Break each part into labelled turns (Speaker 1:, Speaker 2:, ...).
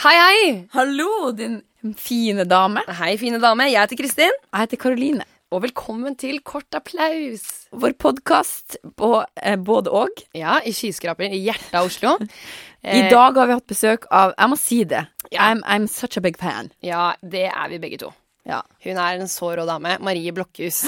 Speaker 1: Hei, hei!
Speaker 2: Hallo, din
Speaker 1: Fine dame.
Speaker 2: Hei, fine dame. Jeg heter Kristin.
Speaker 1: Jeg heter Karoline.
Speaker 2: Og velkommen til Kort applaus.
Speaker 1: Vår podkast på eh, både og.
Speaker 2: Ja, i skyskraper i hjertet av Oslo.
Speaker 1: I
Speaker 2: Eh.
Speaker 1: dag har vi hatt besøk av Jeg må si det. I'm, I'm such a big fan.
Speaker 2: Ja, det er vi begge to.
Speaker 1: Ja.
Speaker 2: Hun er en så rå dame. Marie Blokhus.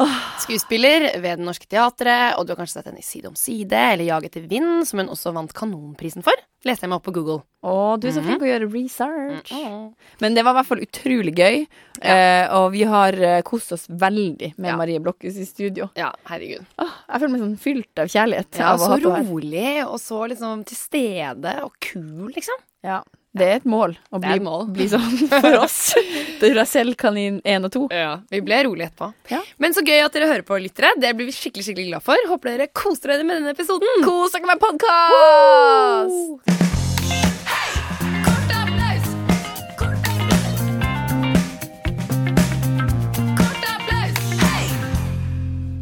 Speaker 2: Ah. Skuespiller ved Det Norske Teatret, og du har kanskje sett henne i Side om side eller Jag etter vind, som hun også vant Kanonprisen for. Leste jeg meg opp på Google.
Speaker 1: Å, du er så
Speaker 2: Mhm.
Speaker 1: flink å gjøre
Speaker 2: Mm,
Speaker 1: research. Men det var i hvert fall utrolig gøy, eh, og vi har eh, kost oss veldig med
Speaker 2: Ja.
Speaker 1: Marie Blokhus i studio.
Speaker 2: Ja, herregud.
Speaker 1: Åh, jeg føler meg sånn fylt av kjærlighet.
Speaker 2: Ja,
Speaker 1: av å
Speaker 2: så
Speaker 1: ha henne her.
Speaker 2: rolig, og så liksom til stede, og kul, liksom.
Speaker 1: Ja. Det er et mål å
Speaker 2: Det
Speaker 1: bli,
Speaker 2: er et mål.
Speaker 1: bli sånn for oss. Det er Rasellkanin 1 og 2.
Speaker 2: Ja, Vi ble rolig etterpå.
Speaker 1: Ja.
Speaker 2: Men så gøy at dere hører på, lyttere. Det blir vi skikkelig skikkelig glad for. Håper dere koser dere med denne episoden.
Speaker 1: Kos dere med podkast!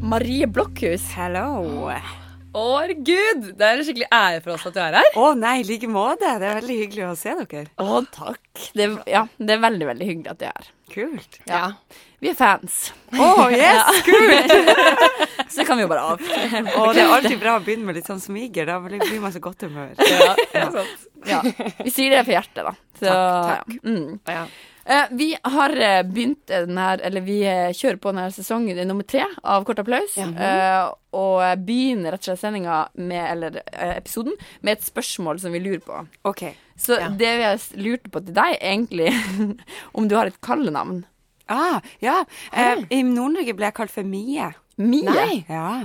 Speaker 1: Marie Blokhus.
Speaker 3: Hello. Å
Speaker 2: Årgud! Det er en skikkelig ære for oss at du er her.
Speaker 3: nei, i like måte. Det er veldig hyggelig å se dere.
Speaker 1: Å, takk. Det, ja, det er veldig, veldig hyggelig at det er.
Speaker 3: Kult.
Speaker 2: Ja.
Speaker 1: Vi er fans,
Speaker 3: Å, yes!
Speaker 1: så det kan vi jo bare av.
Speaker 3: Og det er alltid bra å begynne med litt sånn smiger. Da blir blir man så godt humør.
Speaker 2: Ja.
Speaker 1: Ja. Vi sier det for hjertet, da. Så,
Speaker 3: Takk,
Speaker 1: ja. Mm. Eh, vi har eh, begynt eh, den her, eller vi eh, kjører på denne sesongen eh, nummer tre av Kort applaus. eh, og eh, begynner rett og slett sendinga med, eller eh, episoden, med et spørsmål som vi lurer på.
Speaker 3: OK.
Speaker 1: Så det vi s- lurte på til deg, er egentlig om du har et kallenavn.
Speaker 3: Ah, ja. Eh, I Nord-Norge ble jeg kalt for Mie.
Speaker 1: Mie.
Speaker 3: Ja.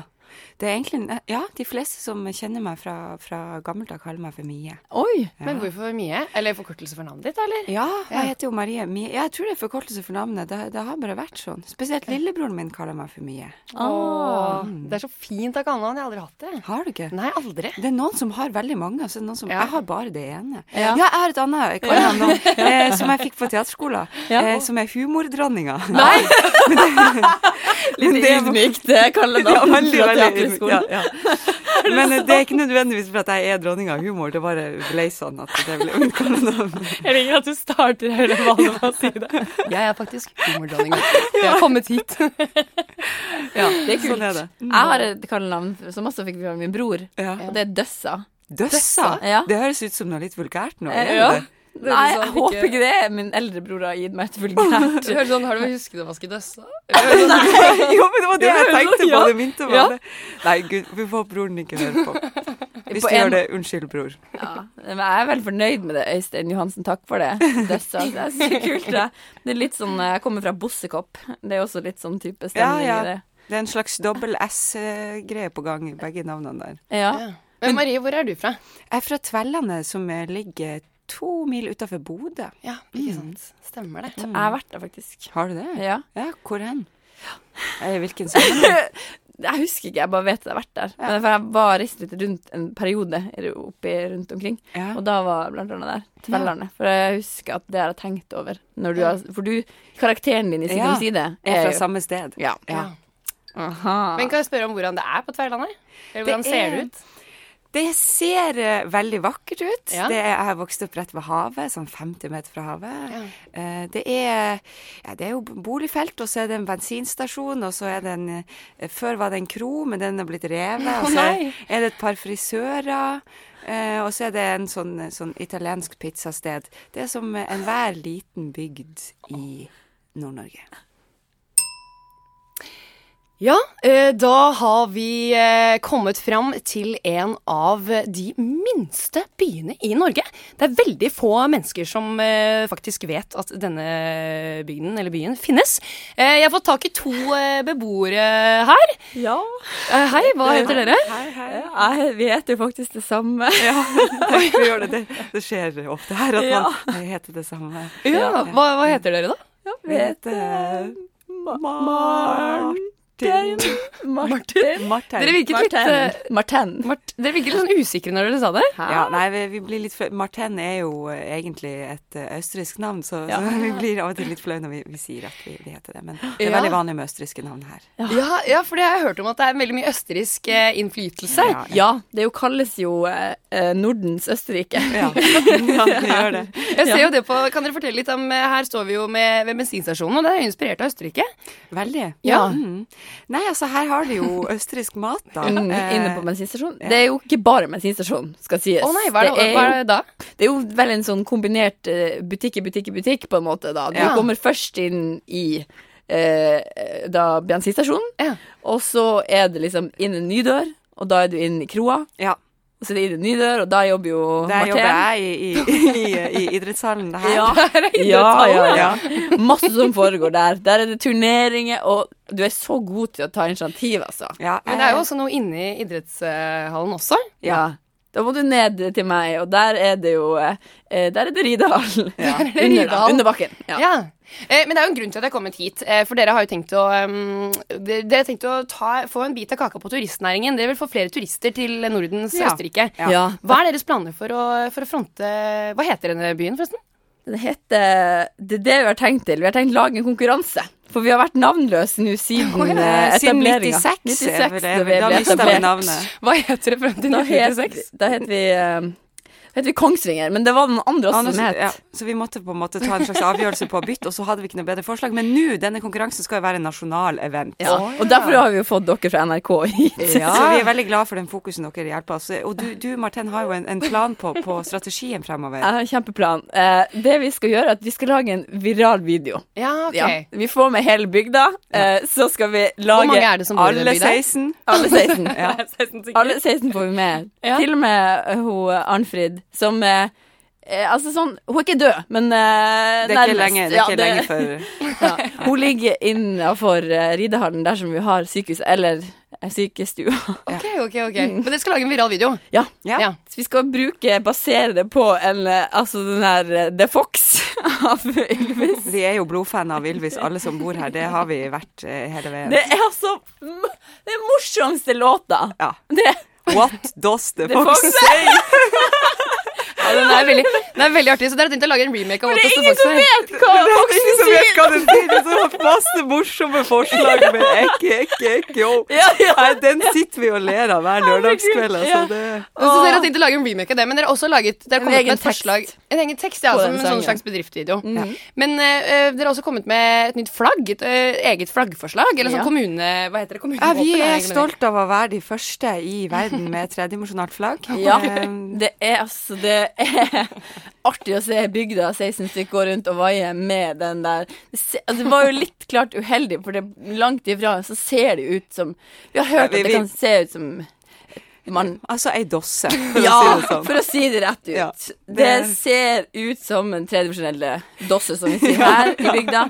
Speaker 3: Det er egentlig Ja, de fleste som kjenner meg fra, fra gammelt av, kaller meg for Mie.
Speaker 1: Oi.
Speaker 2: Men hvorfor mye? Eller forkortelse for navnet ditt, eller?
Speaker 3: Ja, jeg heter jo Marie Mie. Ja, jeg tror det er forkortelse for navnet. Det, det har bare vært sånn. Spesielt lillebroren min kaller meg for Mie.
Speaker 2: Åh, det er så fint av kallenavn. Jeg har aldri hatt det.
Speaker 3: Har du ikke?
Speaker 2: Nei, aldri.
Speaker 3: Det er noen som har veldig mange. Altså noen som,
Speaker 2: Ja.
Speaker 3: Jeg har bare det ene.
Speaker 1: Ja.
Speaker 3: Ja, jeg har et annet jeg kaller han nå, eh, som jeg fikk på teaterskolen,
Speaker 1: Ja.
Speaker 3: eh, som er humordronninga.
Speaker 1: Nei!
Speaker 3: Men det er-
Speaker 1: ydmykt kallenavn
Speaker 3: Veldig, veldig ja, ja. Men eh, det er ikke nødvendigvis for at jeg er dronninga av humor, det bare ble sånn at det ble mitt kallenavn.
Speaker 2: Jeg liker at du starter hele vanlig med å si det. Jeg er faktisk humordronningen. Jeg har kommet hit.
Speaker 3: Ja, sånn er det.
Speaker 1: Jeg har et kallenavn som også fikk fra min bror,
Speaker 3: Ja.
Speaker 1: og det er Døssa.
Speaker 3: Døssa?
Speaker 1: Ja.
Speaker 3: Det høres ut som noe litt vulgært nå.
Speaker 1: Eh,
Speaker 3: Er liksom
Speaker 1: ja.
Speaker 3: det
Speaker 2: er
Speaker 3: det?
Speaker 1: Nei,
Speaker 2: sånn
Speaker 1: jeg
Speaker 2: at
Speaker 1: håper
Speaker 2: ikke-
Speaker 1: ikke det. Min eldre bror har gitt meg et vulgært
Speaker 2: hører sånn, Har du husket å vaske døssa?
Speaker 3: Jo, men det var det
Speaker 1: Ja,
Speaker 3: jeg tenkte på.
Speaker 1: ja.
Speaker 3: Det minte meg
Speaker 1: Ja.
Speaker 3: om det. Nei, gud, vi får broren ikke høre på. Hvis
Speaker 1: På
Speaker 3: du
Speaker 1: en-
Speaker 3: gjør det, unnskyld, bror.
Speaker 1: ja. Men jeg er veldig fornøyd med det, Øystein Johansen. Takk for det. Døssa. Det er så kult, det. Det er litt sånn Jeg kommer fra Bossekopp. Det er også litt sånn type stemning
Speaker 3: Ja,
Speaker 1: i
Speaker 3: ja.
Speaker 1: det.
Speaker 3: Det er en slags dobbel S-greie på gang i begge navnene der.
Speaker 1: Ja.
Speaker 2: Men Marie, hvor er du fra?
Speaker 3: Jeg er fra Tvellane, som eh, ligger to mil utafor Bodø.
Speaker 2: Ja, ikke sant. Mm. Stemmer det.
Speaker 1: Jeg har vært der, faktisk.
Speaker 3: Har du det?
Speaker 1: Ja.
Speaker 3: Ja, hvor hen? Eh, Hvilken sammenheng?
Speaker 1: Jeg husker ikke, jeg bare vet at jeg har vært der. Men For jeg var reist litt rundt en periode oppi, rundt omkring,
Speaker 3: Ja.
Speaker 1: og da var jeg blant annet der. Tvellerne. For jeg husker at det har jeg tenkt over. Når du har, for du, karakteren din i Side
Speaker 3: Ja,
Speaker 1: om side
Speaker 3: Jeg er fra
Speaker 1: jo-
Speaker 3: samme sted.
Speaker 1: Ja.
Speaker 3: Ja.
Speaker 1: Aha.
Speaker 2: Men kan jeg spørre om hvordan det er på Tverlandet? Eller
Speaker 3: Det
Speaker 2: hvordan ser det
Speaker 3: er-
Speaker 2: ut?
Speaker 3: Det ser eh, veldig vakkert ut.
Speaker 2: Ja.
Speaker 3: Det er, jeg har vokst opp rett ved havet, sånn 50 meter fra havet.
Speaker 2: Ja.
Speaker 3: Eh, det, er, ja, det er jo boligfelt, og så er det en bensinstasjon, og så er det en eh, Før var det en kro, men den har blitt revet. Og så
Speaker 2: nei.
Speaker 3: er det et par frisører. eh, og så er det en sånn, sånn italiensk pizzasted. Det er som eh, enhver liten bygd i Nord-Norge.
Speaker 2: Ja, eh, da har vi eh, kommet fram til en av de minste byene i Norge. Det er veldig få mennesker som eh, faktisk vet at denne bygden eller byen finnes. Eh, Jeg har fått tak i to eh, beboere her.
Speaker 1: Ja.
Speaker 2: Eh, Hei, hva heter dere?
Speaker 3: Hei, hei.
Speaker 1: Jeg vet jo faktisk det samme.
Speaker 3: Ja, tenk, vi gjør det. det. Det skjer ofte her at
Speaker 1: Ja.
Speaker 3: man heter det samme.
Speaker 2: Ja, hva, hva heter dere da?
Speaker 3: Vet det
Speaker 1: Ma- Maren. Martin. Martin.
Speaker 3: Martin.
Speaker 2: Dere virket litt eh,
Speaker 1: Martin.
Speaker 2: Mart, Dere virket litt sånn usikre når dere sa det.
Speaker 3: Ja, nei, vi, vi blir litt flau. Martin er jo eh, egentlig et eh, østerriksk navn, så,
Speaker 1: Ja.
Speaker 3: så vi blir av og til litt flau når vi, vi sier at vi, vi heter det. Men det er
Speaker 2: Ja.
Speaker 3: veldig vanlig med østerrikske navn her.
Speaker 2: Ja, ja, for det har jeg hørt om at det er veldig mye østerriksk eh, innflytelse.
Speaker 3: Ja,
Speaker 1: Ja, det jo kalles jo eh, eh, Nordens Østerrike.
Speaker 3: ja. ja vi gjør det.
Speaker 2: Jeg ser jo det på, Kan dere fortelle litt om eh, Her står vi jo med, ved bensinstasjonen, og det er jo inspirert av Østerrike.
Speaker 3: Veldig.
Speaker 2: Ja.
Speaker 3: Mm. Nei, altså her har de jo østerriksk mat, da.
Speaker 1: Mm,
Speaker 3: Eh,
Speaker 1: inne på bensinstasjonen.
Speaker 3: ja.
Speaker 1: Det er jo ikke bare bensinstasjon, skal sies.
Speaker 2: Å nei, hva er det,
Speaker 1: det, er
Speaker 2: hva
Speaker 1: jo,
Speaker 2: er det da?
Speaker 1: det er jo vel en sånn kombinert eh, butikk i butikk i butikk, på en måte, da. Du
Speaker 2: Ja.
Speaker 1: kommer først inn i eh, da bensinstasjonen,
Speaker 2: Ja.
Speaker 1: og så er det liksom inn en ny dør, og da er du inn i kroa.
Speaker 3: Ja.
Speaker 1: Og så er det inn en ny dør, og da jobber jo
Speaker 3: Der
Speaker 1: Martin.
Speaker 3: jobber jeg i, i, i, i idrettshallen, det her.
Speaker 1: Ja. Ja, ja, ja. Masse som foregår der. Der er det turneringer, og du er så god til å ta initiativ, altså.
Speaker 3: Ja,
Speaker 2: Men det er jo
Speaker 3: jeg-
Speaker 2: også noe inni idrettshallen også.
Speaker 1: Ja. Da må du ned til meg, og der er det jo eh, Der er det Ridalen.
Speaker 2: Der er det
Speaker 1: Under, da,
Speaker 2: Ridalen.
Speaker 1: under bakken. Ja.
Speaker 2: Ja. Eh, men det er jo en grunn til at jeg har kommet hit. Eh, for dere har jo tenkt å, um, dere, dere har tenkt å ta, få en bit av kaka på turistnæringen. Dere vil få flere turister til Nordens
Speaker 3: Ja.
Speaker 2: Østerrike.
Speaker 3: Ja.
Speaker 1: Ja.
Speaker 2: Hva er deres planer for å, for å fronte Hva heter denne byen, forresten?
Speaker 1: Det heter Det er det vi har tenkt til. Vi har tenkt å lage en konkurranse. For vi har vært navnløse nå siden
Speaker 3: Å, ja.
Speaker 1: eh,
Speaker 3: Siden
Speaker 1: etableringa.
Speaker 3: 96, eh, for
Speaker 1: 96
Speaker 3: det-
Speaker 1: da vi
Speaker 3: da
Speaker 1: ble
Speaker 3: mistet vi
Speaker 1: etablert.
Speaker 3: navnet.
Speaker 2: Hva heter det frem til
Speaker 1: Da het,
Speaker 2: 1996?
Speaker 1: da het vi eh, da het vi Kongsvinger, men det var noen andre også
Speaker 3: Anders,
Speaker 1: som het
Speaker 3: ja, så vi måtte på en måte ta en slags avgjørelse på å bytte, og så hadde vi ikke noe bedre forslag. Men nå, denne konkurransen skal jo være en nasjonal event.
Speaker 1: ja. Og derfor har vi jo fått dere fra NRK hit.
Speaker 3: Ja. Så vi er veldig glad for den fokusen dere hjelper oss. Og du, du Martin, har jo en, en plan på, på strategien fremover.
Speaker 1: Jeg har en kjempeplan. Eh, det vi skal gjøre, er at vi skal lage en viral video.
Speaker 2: Ja, ok.
Speaker 1: Ja. Vi får med hele bygda, eh, så skal vi lage
Speaker 2: Hvor mange er det som bor i den
Speaker 3: Alle
Speaker 2: byen?
Speaker 3: 16.
Speaker 1: Alle 16.
Speaker 3: Ja.
Speaker 1: Alle 16 får vi med.
Speaker 2: Ja.
Speaker 1: Til og med eh, hun eh, Arnfrid, som eh, eh, Altså sånn, hun er ikke død, men eh,
Speaker 3: Det er ikke
Speaker 1: nærmest.
Speaker 3: lenge, det er ikke
Speaker 1: Ja,
Speaker 3: lenge
Speaker 1: det-
Speaker 3: før
Speaker 1: ja. Hun ligger innafor eh, Ridehallen dersom vi har sykehus, eller eh, sykestua.
Speaker 2: Ok, ok, ok. Men dere skal lage en viral video?
Speaker 1: Ja.
Speaker 3: Ja.
Speaker 2: Ja.
Speaker 1: Så vi skal bruke, basere det på en eh, Altså den her eh, The Fox av Ylvis.
Speaker 3: Vi er jo blodfan av Ylvis, alle som bor her. Det har vi vært eh, hele veien.
Speaker 1: Det er altså m- den morsomste låta.
Speaker 3: Ja.
Speaker 1: Det,
Speaker 3: What does the
Speaker 1: det,
Speaker 3: fox
Speaker 1: Fox-
Speaker 2: Ja, den, er veldig, den er veldig artig. Så dere har tenkt å lage en remake av
Speaker 1: det
Speaker 2: What
Speaker 1: er
Speaker 2: Does the
Speaker 1: ingen
Speaker 2: Fox Say?
Speaker 1: som vet hva Foxen
Speaker 3: Ingen som
Speaker 1: sier!
Speaker 3: vet hva det sier! Det er så masse morsomme forslag, men ikke, ikke, ikke, jo.
Speaker 1: Ja, ja.
Speaker 3: Nei, den sitter vi og ler av hver lørdagskveld, altså.
Speaker 1: Ja.
Speaker 3: Det
Speaker 2: Så dere har tenkt å lage en remake av det, men dere har også laget dere har
Speaker 1: En
Speaker 2: kommet
Speaker 1: egen
Speaker 2: med et
Speaker 1: tekst.
Speaker 2: forslag. En egen tekst, ja,
Speaker 1: På
Speaker 2: som
Speaker 1: den
Speaker 2: en sånn
Speaker 1: sangen.
Speaker 2: slags bedriftsvideo. Men eh, eh, dere har også kommet med et nytt flagg. Et eh, eget flaggforslag. Eller sånn
Speaker 1: Ja.
Speaker 2: kommune... Hva heter det?
Speaker 3: Ja,
Speaker 2: Kommunevåpen?
Speaker 3: vi
Speaker 2: er det
Speaker 3: er
Speaker 2: ikke det?
Speaker 3: stolt av å være de første i verden med tredimensjonalt flagg.
Speaker 1: Ja,
Speaker 3: Ehm,
Speaker 1: det er altså Det er artig å se bygda 16 stykker gå rundt og vaie med den der det, se, altså, det var jo litt klart uheldig, for det langt ifra så ser det ut som Vi har hørt
Speaker 3: Ja, vi-
Speaker 1: at det
Speaker 3: vi-
Speaker 1: kan se ut som man
Speaker 3: altså ei dosse, for
Speaker 1: Ja,
Speaker 3: å si det sånn.
Speaker 1: for å si det rett ut.
Speaker 3: Ja,
Speaker 1: det...
Speaker 3: det er-
Speaker 1: ser ut som en tredimensjonell dosse, som vi sier her i bygda.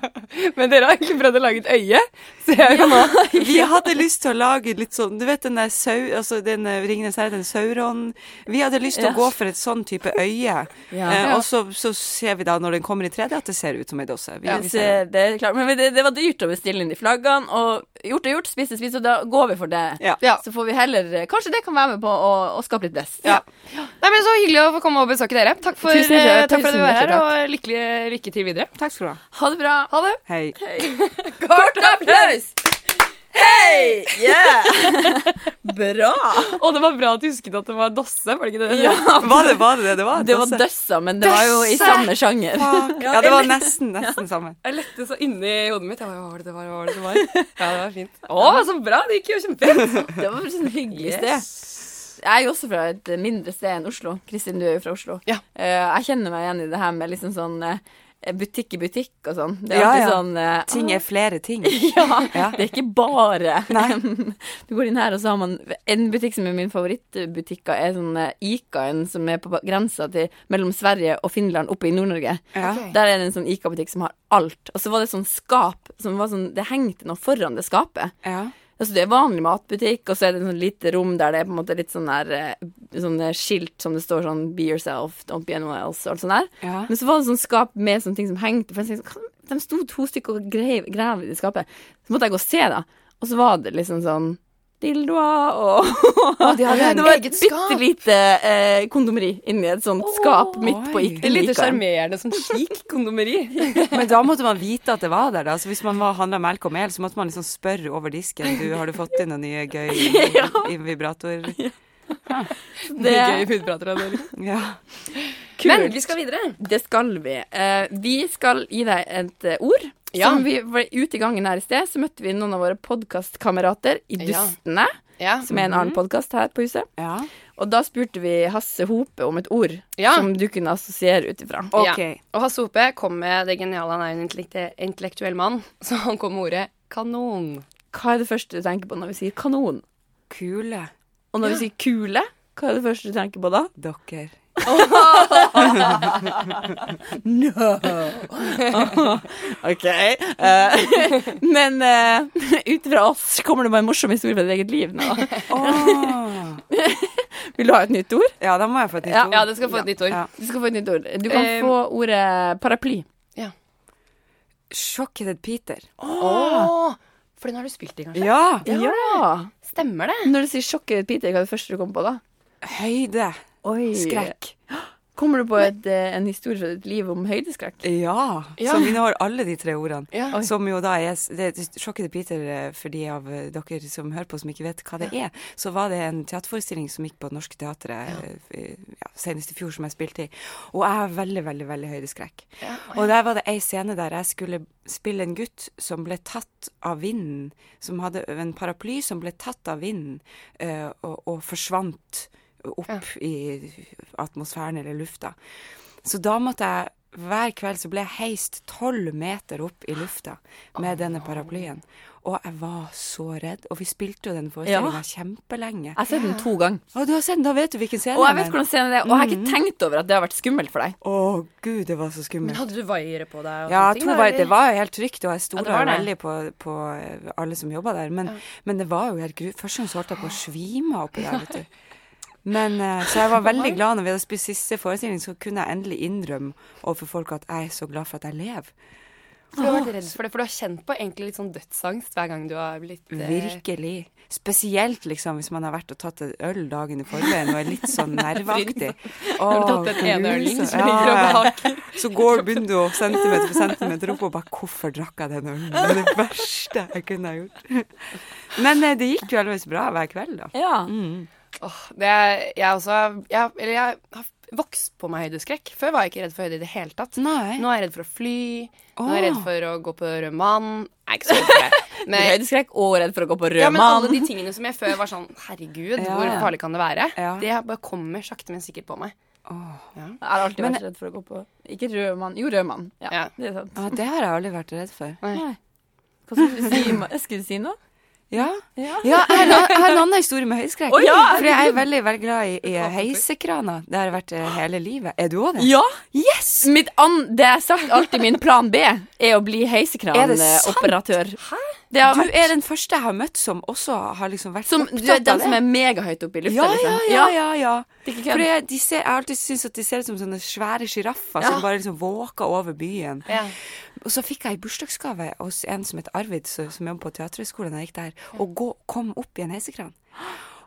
Speaker 2: Men dere har egentlig prøvd å lage et øye, ser jeg jo nå.
Speaker 3: Vi hadde lyst til å lage litt sånn Du vet den der sau... Altså den eh, Ringnes her, den sauron Vi hadde lyst til
Speaker 1: Ja.
Speaker 3: å gå for et sånn type øye.
Speaker 1: Ja.
Speaker 3: Eh, og så, så ser vi da, når den kommer i 3D, at det ser ut som ei dosse. Vi,
Speaker 1: Ja,
Speaker 3: vi
Speaker 1: det, ser-
Speaker 3: ser det.
Speaker 1: eh, det er klart. Men det, det var dyrt å bestille inn de flaggene, og gjort er gjort, spist er spist, og da går vi for det.
Speaker 3: Ja.
Speaker 2: Ja.
Speaker 1: Så får vi heller eh, Kanskje det kan være med på å, å skape litt blest.
Speaker 3: Ja.
Speaker 2: Nei, men Så hyggelig å få komme og besøke dere. Takk for,
Speaker 1: Tusen hjertelig-
Speaker 2: eh, takk for at
Speaker 1: tusen
Speaker 2: du var her,
Speaker 1: hjertelig
Speaker 2: og lykke, lykke til videre.
Speaker 3: Takk skal du ha.
Speaker 1: Ha det bra. Ha det.
Speaker 3: Hei.
Speaker 1: Kort applaus! Hei! Yeah! Bra.
Speaker 2: Og det var bra at du husket at det var Dosse. var det ikke det?
Speaker 3: Var det var det det det var?
Speaker 1: Det var
Speaker 3: Dosse?
Speaker 1: døssa, men det var jo i
Speaker 3: Døsse!
Speaker 1: samme sjanger.
Speaker 3: Ja, det var nesten, nesten sammen.
Speaker 2: Jeg lette så inni hodet mitt. Jeg bare, hva var det det var? Hva var det det var? Ja, det var fint. Å, så bra! Det gikk jo kjempefint.
Speaker 1: Det var liksom et hyggelig sted. Jeg er jo også fra et mindre sted enn Oslo. Kristin, du er jo fra Oslo.
Speaker 2: Ja.
Speaker 1: Eh, jeg kjenner meg igjen i det her med liksom sånn eh, butikk i butikk og sånn. Det er
Speaker 3: Ja,
Speaker 1: alltid
Speaker 3: ja.
Speaker 1: sånn eh,
Speaker 3: Ting er flere ting.
Speaker 1: Ja,
Speaker 3: Ja.
Speaker 1: det er ikke bare
Speaker 3: Nei.
Speaker 1: Du går inn her, og så har man En butikk som er min favorittbutikk, er sånn eh, Ikaen, som er på ba- grensa til mellom Sverige og Finland, oppe i Nord-Norge.
Speaker 3: Ja.
Speaker 1: Der er det en sånn Ika-butikk som har alt. Og så var det sånn skap som var sånn Det hengte noe foran det skapet.
Speaker 3: Ja.
Speaker 1: Altså Det er vanlig matbutikk, og så er det et sånn lite rom der det er på en måte litt sånn der eh, Sånne skilt som det står sånn Be yourself, don't be anyone else, og alt sånt der.
Speaker 3: Ja.
Speaker 1: Men så var det sånn skap med sånne ting som hengte. For jeg tenkte, hva- de sto to stykker og grev, grev i det skapet. Så måtte jeg gå og se, da. Og så var det liksom sånn dildoer og
Speaker 2: Å, de hadde
Speaker 1: Det var et
Speaker 2: eget skap.
Speaker 1: bitte lite eh, kondomeri inni et sånt skap midt på
Speaker 3: oi.
Speaker 1: Ikte
Speaker 2: Et lite
Speaker 1: Likaen.
Speaker 2: sjarmerende sånn chic kondomeri.
Speaker 3: Men da måtte man vite at det var der, da. Så hvis man handla melk og mel, så måtte man liksom spørre over disken Du, har du fått inn noe nye gøy i- i vibrator?
Speaker 2: Det
Speaker 1: Det-
Speaker 2: er gøy budprater av dere.
Speaker 3: Ja.
Speaker 2: Men vi skal videre.
Speaker 1: Det skal vi. Eh, vi skal gi deg et eh, ord.
Speaker 2: Ja.
Speaker 1: Som vi var Ute i gangen her i sted så møtte vi noen av våre podkastkamerater i
Speaker 2: Ja.
Speaker 1: Dustene,
Speaker 2: Ja.
Speaker 1: som er en annen podkast her på huset.
Speaker 3: ja.
Speaker 1: Og da spurte vi Hasse Hope om et ord
Speaker 2: Ja.
Speaker 1: som du kunne assosiere ut ifra.
Speaker 3: Ok.
Speaker 2: Ja. Og Hasse Hope kom med det geniale, han er jo en intellekte- intellektuell mann, så han kom med ordet kanon.
Speaker 1: Hva er det første du tenker på når vi sier kanon?
Speaker 3: Kule
Speaker 1: Og når vi sier kule, hva er det første du tenker på da?
Speaker 3: dere.
Speaker 1: OK. eh, men uh, ut fra oss så kommer det bare en morsom historie fra ditt eget liv nå.
Speaker 3: Åh.
Speaker 1: Vil du ha et nytt ord?
Speaker 3: Ja, da må jeg få et nytt
Speaker 1: Ja,
Speaker 3: ord.
Speaker 2: Ja, det skal få et nytt ord.
Speaker 3: Ja.
Speaker 1: Du skal få et nytt ord. Du kan
Speaker 2: Eh,
Speaker 1: få ordet paraply.
Speaker 3: Sjokkedet Peter.
Speaker 2: Åh, for den har du spilt i, kanskje?
Speaker 3: Ja!
Speaker 1: Ja!
Speaker 2: Stemmer det?
Speaker 1: Når du sier 'sjokket Peter', hva er det første du kommer på da?
Speaker 3: Høyde. Skrekk.
Speaker 1: Kommer du på et, eh, en historie fra ditt liv om høydeskrekk?
Speaker 3: Ja.
Speaker 2: Ja.
Speaker 3: Som innehar alle de tre ordene.
Speaker 2: Ja.
Speaker 3: Som jo da er det, er Sjokkedet Peter, eh, for de av eh, dere som hører på som ikke vet hva det er, så var det en teaterforestilling som gikk på Det Norske Teatret eh, eh, ja, senest i fjor, som jeg spilte i. Og jeg har veldig, veldig veldig høydeskrekk. Og der var det ei scene der jeg skulle spille en gutt som ble tatt av vinden. Som hadde en paraply som ble tatt av vinden eh, og, og forsvant opp i atmosfæren eller lufta. Så da måtte jeg hver kveld så ble jeg heist tolv meter opp i lufta med denne paraplyen. Og jeg var så redd. Og vi spilte jo den forestillinga
Speaker 1: Ja.
Speaker 3: kjempelenge.
Speaker 1: Jeg har sett den to ganger.
Speaker 3: Å, du har sett den, da vet du hvilken scene
Speaker 1: Og jeg vet
Speaker 3: den-
Speaker 1: hvordan scenen er, og jeg har ikke tenkt over at det har vært skummelt for deg.
Speaker 3: Å gud, det var så skummelt.
Speaker 2: Hadde du vaiere på deg? og
Speaker 3: Ja,
Speaker 2: sånne
Speaker 3: jeg
Speaker 2: ting,
Speaker 3: tror
Speaker 2: da,
Speaker 3: bare, det
Speaker 2: eller?
Speaker 3: var jo helt trygt, og jeg
Speaker 2: Ja,
Speaker 3: stoler
Speaker 2: det var det.
Speaker 3: veldig på, på eh, alle som jobba der. Men, men det var jo helt gru... Først så holdt jeg på å svime oppi der, vet du. Men, eh, så jeg var veldig glad når vi hadde spist siste forestilling, så kunne jeg endelig innrømme overfor folk at jeg er så glad for at jeg lever.
Speaker 2: For Du har vært redd for det, for du har kjent på egentlig litt sånn dødsangst hver gang du har blitt eh,
Speaker 3: Virkelig. Spesielt liksom hvis man har vært og tatt en øl dagen i forveien og er litt sånn nerveaktig. Åh,
Speaker 2: tatt den ene
Speaker 3: grusomt.
Speaker 2: ølen som ligger og
Speaker 3: Ja, ja. Så går begynner du å centimeter for centimeter opp og bare 'Hvorfor drakk jeg den ølen?' Det er det verste jeg kunne ha gjort. Men eh, det gikk jo heldigvis bra hver kveld, da.
Speaker 1: Ja.
Speaker 2: Åh, det er, jeg også har- jeg, Eller jeg har vokst på meg høydeskrekk. Før var jeg ikke redd for høyde i det hele tatt.
Speaker 3: Nei.
Speaker 2: Nå er jeg redd for å fly. Nå er jeg redd
Speaker 3: Eh? Åh.
Speaker 2: for å gå på rød mann. Jeg er ikke så redd for det. Men,
Speaker 1: Høydeskrekk og redd for å gå på
Speaker 2: ja,
Speaker 1: rød
Speaker 2: men alle
Speaker 1: mann.
Speaker 2: de tingene som jeg før var sånn Herregud,
Speaker 3: Ja.
Speaker 2: hvor farlig kan det være?
Speaker 3: Ja.
Speaker 2: Det bare kommer sakte, men sikkert på meg.
Speaker 1: Jeg har alltid
Speaker 3: Men-
Speaker 1: vært redd for å gå på Ikke rød mann, jo rød mann. Ja,
Speaker 2: Ja.
Speaker 1: det er sant.
Speaker 3: Ja, det har jeg aldri vært redd for.
Speaker 1: Nei. Hva skulle du si? Ma- Skulle du si noe?
Speaker 3: Ja.
Speaker 1: Ja.
Speaker 3: Ja, jeg har, jeg har en annen historie med høyskrekk.
Speaker 1: Å, ja.
Speaker 3: For jeg er veldig veldig glad i, i heisekrana. Det har jeg vært eh, hele livet. Er du òg det?
Speaker 1: Ja!
Speaker 3: Yes!
Speaker 1: Mitt an, det jeg har sagt alltid, min plan B er å bli
Speaker 3: Er det sant?
Speaker 1: heisekranoperatør. Det har
Speaker 3: Du
Speaker 1: vært
Speaker 3: er den første jeg har møtt som også har liksom vært
Speaker 1: som, du er
Speaker 3: opptatt
Speaker 1: den
Speaker 3: av
Speaker 1: som
Speaker 3: det.
Speaker 1: er megahøyt oppe i lufta,
Speaker 3: Ja, ja,
Speaker 1: liksom.
Speaker 3: ja. ja, ja.
Speaker 1: Det er ikke
Speaker 3: For
Speaker 1: kødd.
Speaker 3: jeg, de ser, jeg har alltid syntes at de ser ut som sånne svære sjiraffer som bare liksom våker over byen.
Speaker 2: Ja.
Speaker 3: Og så fikk jeg i bursdagsgave hos en som het Arvid, så- som jobber på Teaterhøgskolen, da jeg gikk der, og gå, kom opp i en heisekran.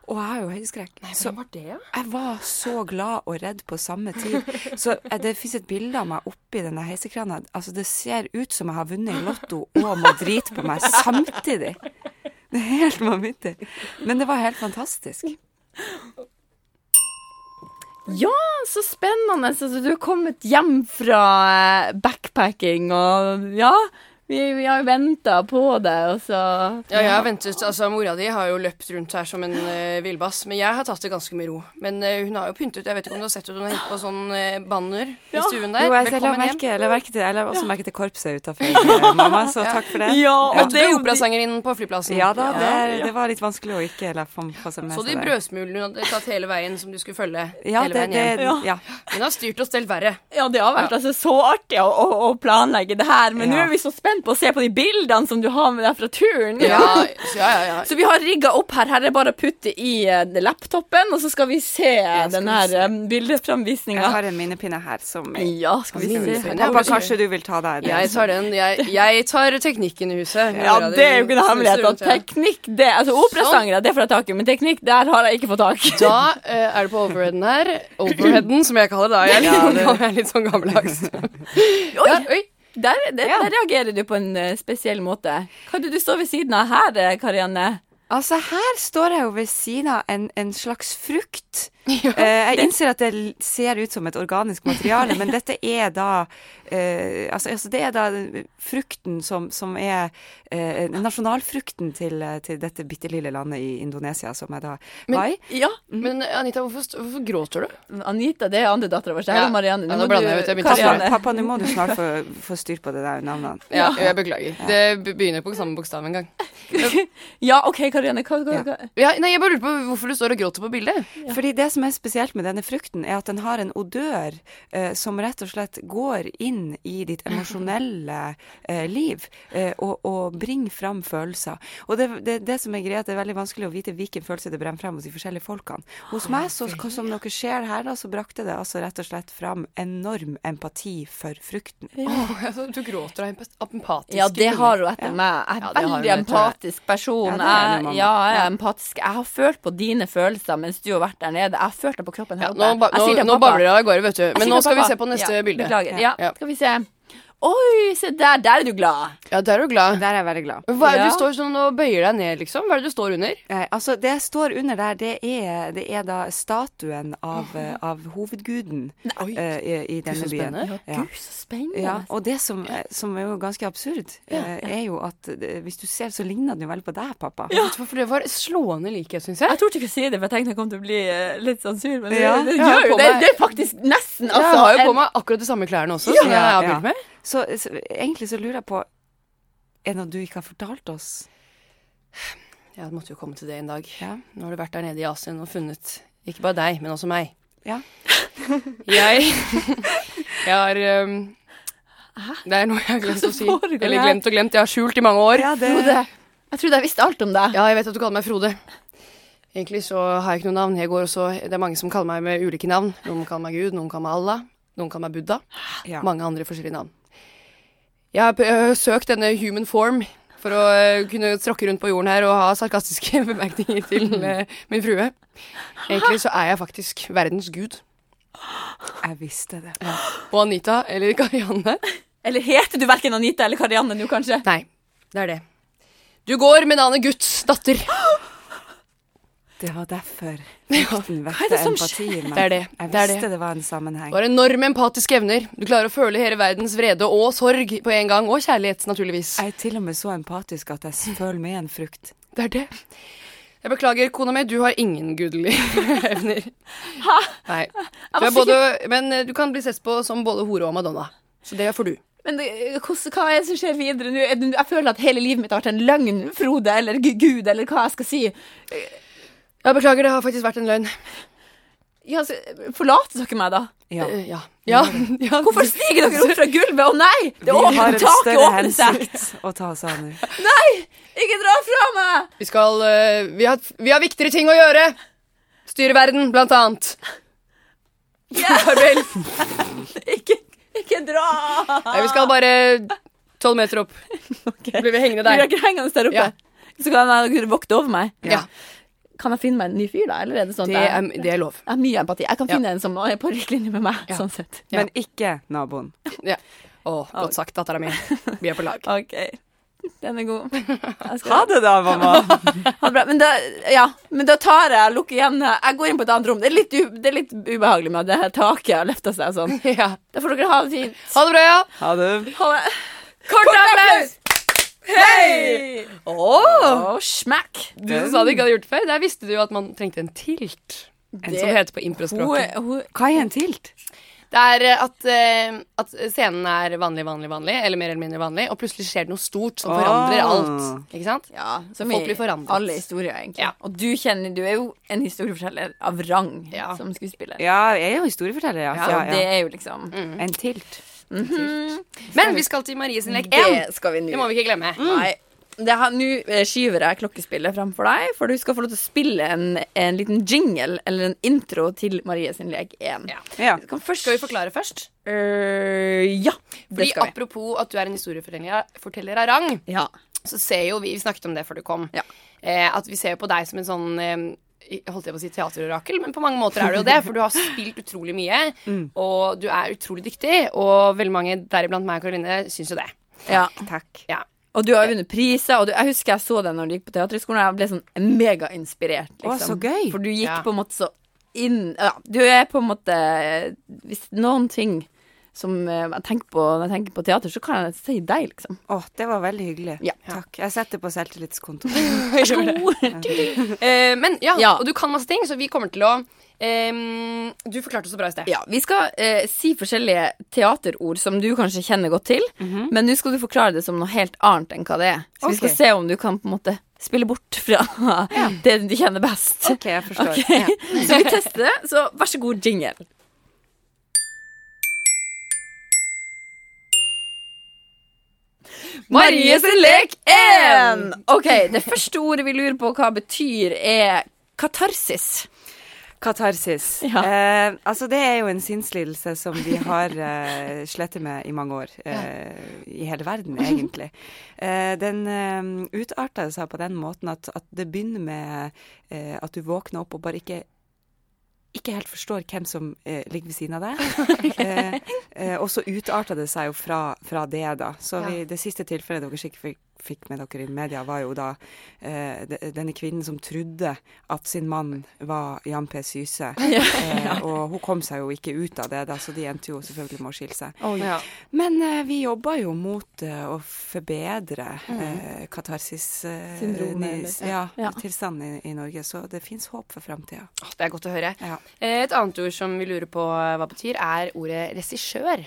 Speaker 3: Og jeg har jo høydeskrekk. Så
Speaker 2: var det, ja?
Speaker 3: jeg var så glad og redd på samme tid. Så eh, det fins et bilde av meg oppi denne heisekrana. Altså, det ser ut som jeg har vunnet i Lotto og må drite på meg samtidig. Det er helt vanvittig. Men det var helt fantastisk.
Speaker 1: Ja, så spennende. Altså, du er kommet hjem fra eh, backpacking og Ja. Vi, vi har jo venta på deg, og så
Speaker 2: Ja, jeg har ventet, altså Mora di har jo løpt rundt her som en uh, villbass, men jeg har tatt det ganske med ro. Men eh, hun har jo pyntet, jeg vet ikke om du har sett det, hun har hengt på sånn eh, banner i stuen der.
Speaker 3: Jo, jeg, jeg, la
Speaker 2: Velkommen hjem.
Speaker 3: merke, jeg la merke til, jeg la også merke til korpset utafor mamma, så takk for det.
Speaker 1: Ja,
Speaker 2: Og det er operasangerinnen på flyplassen.
Speaker 3: Ja da, det, det var litt vanskelig å ikke la få få seg med
Speaker 2: Så de
Speaker 3: seg det.
Speaker 2: brødsmulene hun hadde tatt hele veien som du skulle følge
Speaker 3: Ja,
Speaker 2: hele
Speaker 3: det,
Speaker 2: veien
Speaker 3: det,
Speaker 2: hjem.
Speaker 1: hjem.
Speaker 3: ja.
Speaker 2: Hun har styrt og stelt verre.
Speaker 1: Ja, det har vært altså, så artig å, å, å planlegge det her, men
Speaker 3: Ja.
Speaker 1: nå er vi så spent på å se på de bildene som du har med deg fra turen.
Speaker 2: Ja, ja, ja. ja.
Speaker 1: Så vi har rigga opp her. Her er det bare å putte i eh, laptopen, og så skal vi se
Speaker 3: skal
Speaker 1: den
Speaker 3: vi
Speaker 1: her
Speaker 3: se.
Speaker 1: eh,
Speaker 3: Jeg
Speaker 1: bildeframvisninga.
Speaker 3: har en minnepinne her som
Speaker 1: Ja, skal vi se her.
Speaker 2: Minnesmerke.
Speaker 3: Ebba, kanskje du vil ta deg
Speaker 2: Jeg tar den. Jeg, jeg tar teknikken i huset.
Speaker 1: Ja, det er jo ikke noe hemmelighet. at Teknikk, det Altså,
Speaker 2: Sånn.
Speaker 1: operasangere, det får jeg tak i, men teknikk, der har jeg ikke fått tak.
Speaker 2: Da eh, er det på overheaden her. Overheaden, som jeg kaller det. da. Jeg er litt, da er jeg litt sånn gammeldags.
Speaker 1: Oi!
Speaker 2: Ja, oi.
Speaker 1: Der, der,
Speaker 3: Ja.
Speaker 1: der reagerer du på en eh, spesiell måte. Hva er det du står ved siden av her, eh, Karianne?
Speaker 3: Altså, her står jeg jo ved siden av en, en slags frukt. Eh, jeg innser at det l- ser ut som et organisk materiale, men dette er da eh, altså, altså, det er da frukten som, som er eh, nasjonalfrukten til, eh, til dette bitte lille landet i Indonesia, som jeg da var i.
Speaker 1: Ja,
Speaker 2: Men eh, Anita, hvorfor, st- hvorfor gråter du?
Speaker 1: Anita, det er andre dattera vår. så Her
Speaker 2: Ja.
Speaker 1: er Marianne.
Speaker 2: Ja,
Speaker 1: Nå
Speaker 2: nå
Speaker 1: må
Speaker 2: blander jeg ut, jeg
Speaker 1: du
Speaker 2: begynte å
Speaker 3: Pappa,
Speaker 1: Karianne.
Speaker 3: pappa, nå må du snart få, få styr på det der navnet.
Speaker 2: Ja, jeg beklager. Det be- begynner på samme bokstav en gang.
Speaker 1: Ja, OK, Karianne. Hva, hva, hva?
Speaker 2: Ja, nei, jeg bare lurer på hvorfor du står og gråter på bildet.
Speaker 3: Fordi det som er spesielt med denne frukten, er at den har en odør eh, som rett og slett går inn i ditt emosjonelle eh, liv, eh, og, og bringer fram følelser. Og det, det, det som er greia, at det er veldig vanskelig å vite hvilken følelse det brenner frem hos de forskjellige folkene. Hos meg, så, som dere ser her, da, så brakte det altså rett og slett fram enorm empati for frukten.
Speaker 2: Åh, altså, du gråter av empa- av empatiske
Speaker 1: Ja, det
Speaker 2: grunner.
Speaker 1: har hun etter meg. Jeg
Speaker 2: Ja, det
Speaker 1: er
Speaker 2: har
Speaker 1: en
Speaker 2: hun,
Speaker 1: veldig
Speaker 2: det tror jeg.
Speaker 1: empatisk person.
Speaker 3: Ja, det er du,
Speaker 1: jeg,
Speaker 3: mamma.
Speaker 1: ja, jeg er empatisk. Jeg har følt på dine følelser mens du har vært der nede. Jeg har følt det på kroppen her
Speaker 2: Ja,
Speaker 1: oppe.
Speaker 2: nå ba,
Speaker 1: Jeg
Speaker 2: nå,
Speaker 1: sier til
Speaker 2: nå
Speaker 1: pappa-
Speaker 2: babler det av gårde, vet du.
Speaker 1: jeg
Speaker 2: Men
Speaker 1: sier
Speaker 2: nå
Speaker 1: til
Speaker 2: skal vi
Speaker 1: pappa-
Speaker 2: se på neste
Speaker 1: ja,
Speaker 2: bilde.
Speaker 1: Beklager. Ja,
Speaker 2: Ja.
Speaker 1: skal vi se. Oi, se der. Der er du glad.
Speaker 2: Ja, der er du glad.
Speaker 3: Der er jeg veldig glad.
Speaker 2: Men Hva er det
Speaker 1: Ja.
Speaker 2: du står sånn og bøyer deg ned, liksom? Hva er det du står under?
Speaker 3: Eh, altså, det jeg står under der, det er, det er da statuen av, eh, av hovedguden
Speaker 2: Oi.
Speaker 3: eh, i, i
Speaker 2: så
Speaker 3: denne byen.
Speaker 2: spennende.
Speaker 3: Ja.
Speaker 1: Gud, så spennende.
Speaker 3: Ja, og det som, eh, som er jo ganske absurd, eh, er jo at eh, hvis du ser, så ligner den jo veldig på deg, pappa.
Speaker 2: Vet du hvorfor det var slående likhet, syns jeg?
Speaker 1: Jeg torde ikke å si det, for jeg tenkte jeg kom til å bli eh, litt sånn sur, men
Speaker 3: Ja.
Speaker 1: det, det
Speaker 2: Jeg har
Speaker 1: gjør
Speaker 2: på
Speaker 1: jo det.
Speaker 2: meg-
Speaker 1: Det er faktisk nesten, altså.
Speaker 2: jeg har jo på
Speaker 1: en-
Speaker 2: meg akkurat de samme klærne også, som jeg har
Speaker 3: ja.
Speaker 2: bilde med.
Speaker 3: Så, så egentlig så lurer jeg på Er det noe du ikke har fortalt oss?
Speaker 2: Ja, det måtte jo komme til det en dag.
Speaker 3: Ja.
Speaker 2: Nå har du vært der nede i Asien og funnet ikke bare deg, men også meg.
Speaker 3: Ja.
Speaker 2: jeg Jeg har um, Det er noe jeg har glemt
Speaker 1: som
Speaker 2: å si.
Speaker 1: foregår
Speaker 2: Eller
Speaker 1: her?
Speaker 2: glemt og glemt. Jeg har skjult i mange år.
Speaker 3: Ja, det
Speaker 1: Frode, jeg trodde jeg visste alt om deg.
Speaker 2: Ja, jeg vet at du kaller meg Frode. Egentlig så har jeg ikke noe navn. Jeg går også, det er mange som kaller meg med ulike navn. Noen kaller meg Gud, noen kaller meg Allah, noen kaller meg Buddha.
Speaker 3: ja.
Speaker 2: Mange andre forskjellige navn. Jeg har, p- jeg har søkt denne human form for å eh, kunne tråkke rundt på jorden her og ha sarkastiske bemerkninger til eh, min frue. Egentlig så er jeg faktisk verdens gud.
Speaker 3: Jeg visste det.
Speaker 2: Og Anita, eller Karianne
Speaker 1: Eller heter du verken Anita eller Karianne nå, kanskje?
Speaker 2: Nei, det er det. Du går med en annen Guds datter.
Speaker 3: Det var derfor frykten
Speaker 1: er det
Speaker 3: vekte
Speaker 1: som
Speaker 3: empati i meg.
Speaker 2: Det er det.
Speaker 3: Jeg
Speaker 2: Det er det.
Speaker 3: visste det var en sammenheng.
Speaker 2: Du har enorme empatiske evner. Du klarer å føle hele verdens vrede og sorg på en gang. Og kjærlighet, naturligvis.
Speaker 3: Jeg er til og med så empatisk at jeg s- føler med en frukt.
Speaker 2: Det er det. Jeg beklager, kona mi, du har ingen gudelige evner. Nei. Du er
Speaker 1: var
Speaker 2: både, men eh, du kan bli sett på som både hore og madonna. Så det får du.
Speaker 1: Men det, hvordan, hva er det som skjer videre nå? Er det- Jeg føler at hele livet mitt har vært en løgn, Frode, eller G- Gud, eller hva jeg skal si.
Speaker 2: Ja, beklager, det har faktisk vært en løgn.
Speaker 1: Ja, så, forlater dere meg, da?
Speaker 3: Ja.
Speaker 2: Eh, Ja. ja. ja.
Speaker 1: Hvorfor stiger dere opp fra gulvet? Å nei! Det
Speaker 3: Vi har
Speaker 1: åpner,
Speaker 3: en
Speaker 1: taket
Speaker 3: større
Speaker 1: åpner seg!
Speaker 3: hensikt å ta oss av nå.
Speaker 1: Ikke dra fra meg!
Speaker 2: Vi skal eh, vi, har, vi har viktigere ting å gjøre! Styre verden, blant annet. Farvel.
Speaker 1: Ikke, ikke dra!
Speaker 2: Nei, vi skal bare tolv meter opp. Blir vi hengende der?
Speaker 1: Blir dere hengende der oppe?
Speaker 2: Ja.
Speaker 1: Så kan dere vokte over meg.
Speaker 2: Ja.
Speaker 1: Kan jeg finne meg en ny fyr, da? Eller er det sånn at
Speaker 2: Det
Speaker 1: jeg-
Speaker 2: er, det er lov.
Speaker 1: Jeg har mye empati. Jeg kan
Speaker 2: Ja.
Speaker 1: finne en som er på lik linje med meg.
Speaker 2: Ja.
Speaker 1: sånn sett.
Speaker 2: Ja.
Speaker 3: Men ikke naboen.
Speaker 2: Ja. Å, godt sagt, dattera mi. Vi er på lag.
Speaker 1: OK. Den er god. Jeg skal-
Speaker 3: Ha det, da, mamma.
Speaker 1: Ha det bra. Men da, ja, men da tar jeg lukker igjen Jeg går inn på et annet rom. Det er litt, u, det er litt ubehagelig med at det her taket har løfta seg sånn.
Speaker 2: Ja.
Speaker 1: Da får dere ha det fint.
Speaker 2: Ha det bra, ja.
Speaker 3: Ha det.
Speaker 1: Ha det.
Speaker 2: Kort applaus!
Speaker 1: Hei!
Speaker 2: Åh,
Speaker 1: Og smack.
Speaker 2: Du som sa det ikke hadde gjort det før, der visste du jo at man trengte en tilt. En
Speaker 1: Det-
Speaker 2: som heter på
Speaker 1: Hun,
Speaker 2: improspråket.
Speaker 1: hun,
Speaker 3: Hva er en tilt?
Speaker 2: Det er eh, at, eh, at scenen er vanlig, vanlig, vanlig, eller mer eller mindre vanlig, og plutselig skjer det noe stort som forandrer
Speaker 3: Ah.
Speaker 2: alt. Ikke sant?
Speaker 1: ja, som
Speaker 2: Folk
Speaker 1: i
Speaker 2: blir forandret.
Speaker 1: alle historier, egentlig.
Speaker 2: Ja.
Speaker 1: Og du kjenner Du er jo en historieforteller av rang
Speaker 2: Ja.
Speaker 1: som skuespiller.
Speaker 3: Ja, Mm. jeg er jo historieforteller, ja.
Speaker 1: Så
Speaker 3: ja,
Speaker 1: det
Speaker 3: ja.
Speaker 1: er jo liksom
Speaker 3: En tilt.
Speaker 2: Men vi skal til Maries sin lek Mm. 1.
Speaker 1: Det skal vi
Speaker 2: Det må
Speaker 1: nå.
Speaker 2: vi ikke glemme.
Speaker 1: Nei. Det her- Nå eh, skyver jeg klokkespillet fremfor deg, for du skal få lov til å spille en, en liten jingle eller en intro til Marie sin lek 1.
Speaker 2: Ja.
Speaker 3: Ja.
Speaker 1: Du kan først
Speaker 2: Skal vi forklare først?
Speaker 1: Eh, ja, det
Speaker 2: Fordi
Speaker 1: skal vi.
Speaker 2: Apropos at du er en historieforteller forteller av rang,
Speaker 1: Ja.
Speaker 2: så ser jo vi Vi snakket om det før du kom.
Speaker 1: Ja.
Speaker 2: Eh, at vi ser jo på deg som en sånn eh, Holdt jeg på å si teaterorakel, men på mange måter er du jo det. For du har spilt utrolig mye, og du er utrolig dyktig. Og veldig mange, deriblant meg og Karoline, syns jo det.
Speaker 1: ja.
Speaker 3: Takk.
Speaker 2: Ja.
Speaker 1: Og du har jo vunnet priser. Og du, jeg husker jeg så deg når du gikk på Teaterhøgskolen, og jeg ble sånn megainspirert. liksom.
Speaker 3: Å, så gøy.
Speaker 1: For du gikk
Speaker 2: Ja.
Speaker 1: på en måte så inn Ja, du er på en måte Hvis det er noen ting som eh, jeg tenker på når jeg tenker på teater, så kan jeg si deg, liksom.
Speaker 3: Å, det var veldig hyggelig.
Speaker 1: Ja.
Speaker 3: Takk. Jeg setter på selvtillitskonto.
Speaker 2: Eh, men ja,
Speaker 1: Ja.
Speaker 2: og du kan masse ting, så vi kommer til å eh, Du forklarte det så bra i sted.
Speaker 1: Ja, vi skal eh, si forskjellige teaterord som du kanskje kjenner godt til, men nå skal du forklare det som noe helt annet enn hva det er. Så vi skal
Speaker 3: Mhm. Ok.
Speaker 1: se om du kan på en måte spille bort fra det du kjenner best.
Speaker 3: OK, jeg forstår.
Speaker 1: Ok. så vi tester det, så vær så god jingle. Maries lek 1! Ok, det første ordet vi lurer på hva betyr, er katarsis.
Speaker 3: Katarsis.
Speaker 1: Ja.
Speaker 3: Eh, altså det er jo en sinnslidelse som vi har eh, slettet med i mange år. Eh, I hele verden, egentlig. Eh, den eh, utarter seg på den måten at, at det begynner med eh, at du våkner opp og bare ikke ikke helt forstår hvem som eh, ligger ved siden av deg. Eh, eh, og så utarta det seg jo fra, fra det, da. Så vi, det siste tilfellet dere sikkert fikk, fikk med dere i media, var jo da eh, de- denne kvinnen som trodde at sin mann var Jan P. Syse. Eh, og hun kom seg jo ikke ut av det, da, så de endte jo selvfølgelig med å skille seg.
Speaker 2: Ja.
Speaker 3: Men eh, vi jobber jo mot eh, å forbedre eh,
Speaker 1: Mm. Syndromet,
Speaker 3: katarsis-tilstanden
Speaker 1: eller-
Speaker 3: ja,
Speaker 1: Ja.
Speaker 3: tilstanden i, i Norge, så det fins håp for framtida.
Speaker 2: Åh, Det er godt å høre.
Speaker 3: Ja.
Speaker 2: Eh, Et annet ord som vi lurer på hva betyr, er ordet regissør.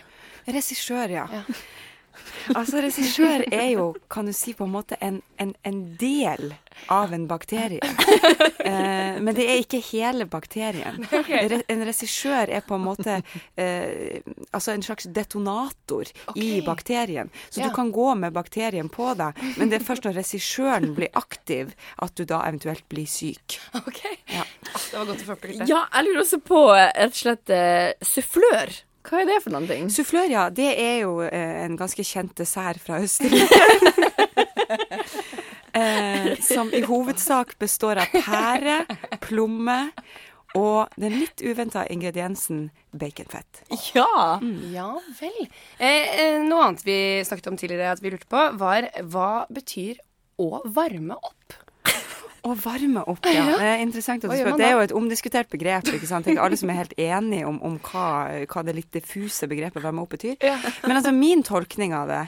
Speaker 3: Regissør, ja. altså, regissør er jo, kan du si, på en måte en, en, en del av en bakterie. Eh, men det er ikke hele bakterien. Re en regissør er på en måte eh, altså en slags detonator i bakterien. Så
Speaker 2: Ja.
Speaker 3: du kan gå med bakterien på deg, men det er først når regissøren blir aktiv, at du da eventuelt blir syk.
Speaker 2: Ok. Det var godt å få oppklart det.
Speaker 1: Ja, jeg lurer også på eh, rett og slett eh, sufflør. Hva er det for noen ting?
Speaker 3: Sufflør, ja. Det er jo eh, en ganske kjent dessert fra Østerrike. eh, som i hovedsak består av pære, plomme og den litt uventa ingrediensen baconfett.
Speaker 1: Ja!
Speaker 3: Mm.
Speaker 2: Ja vel. Eh, eh, noe annet vi snakket om tidligere at vi lurte på, var hva betyr å varme opp?
Speaker 3: Å varme opp, ja. Det er interessant at
Speaker 2: Hva
Speaker 3: du
Speaker 2: gjør man
Speaker 3: spør. Det er
Speaker 2: da?
Speaker 3: jo et omdiskutert begrep. ikke sant? Det er ikke alle som er helt enige om, om hva, hva det litt diffuse begrepet varme opp betyr. Men altså, min tolkning av det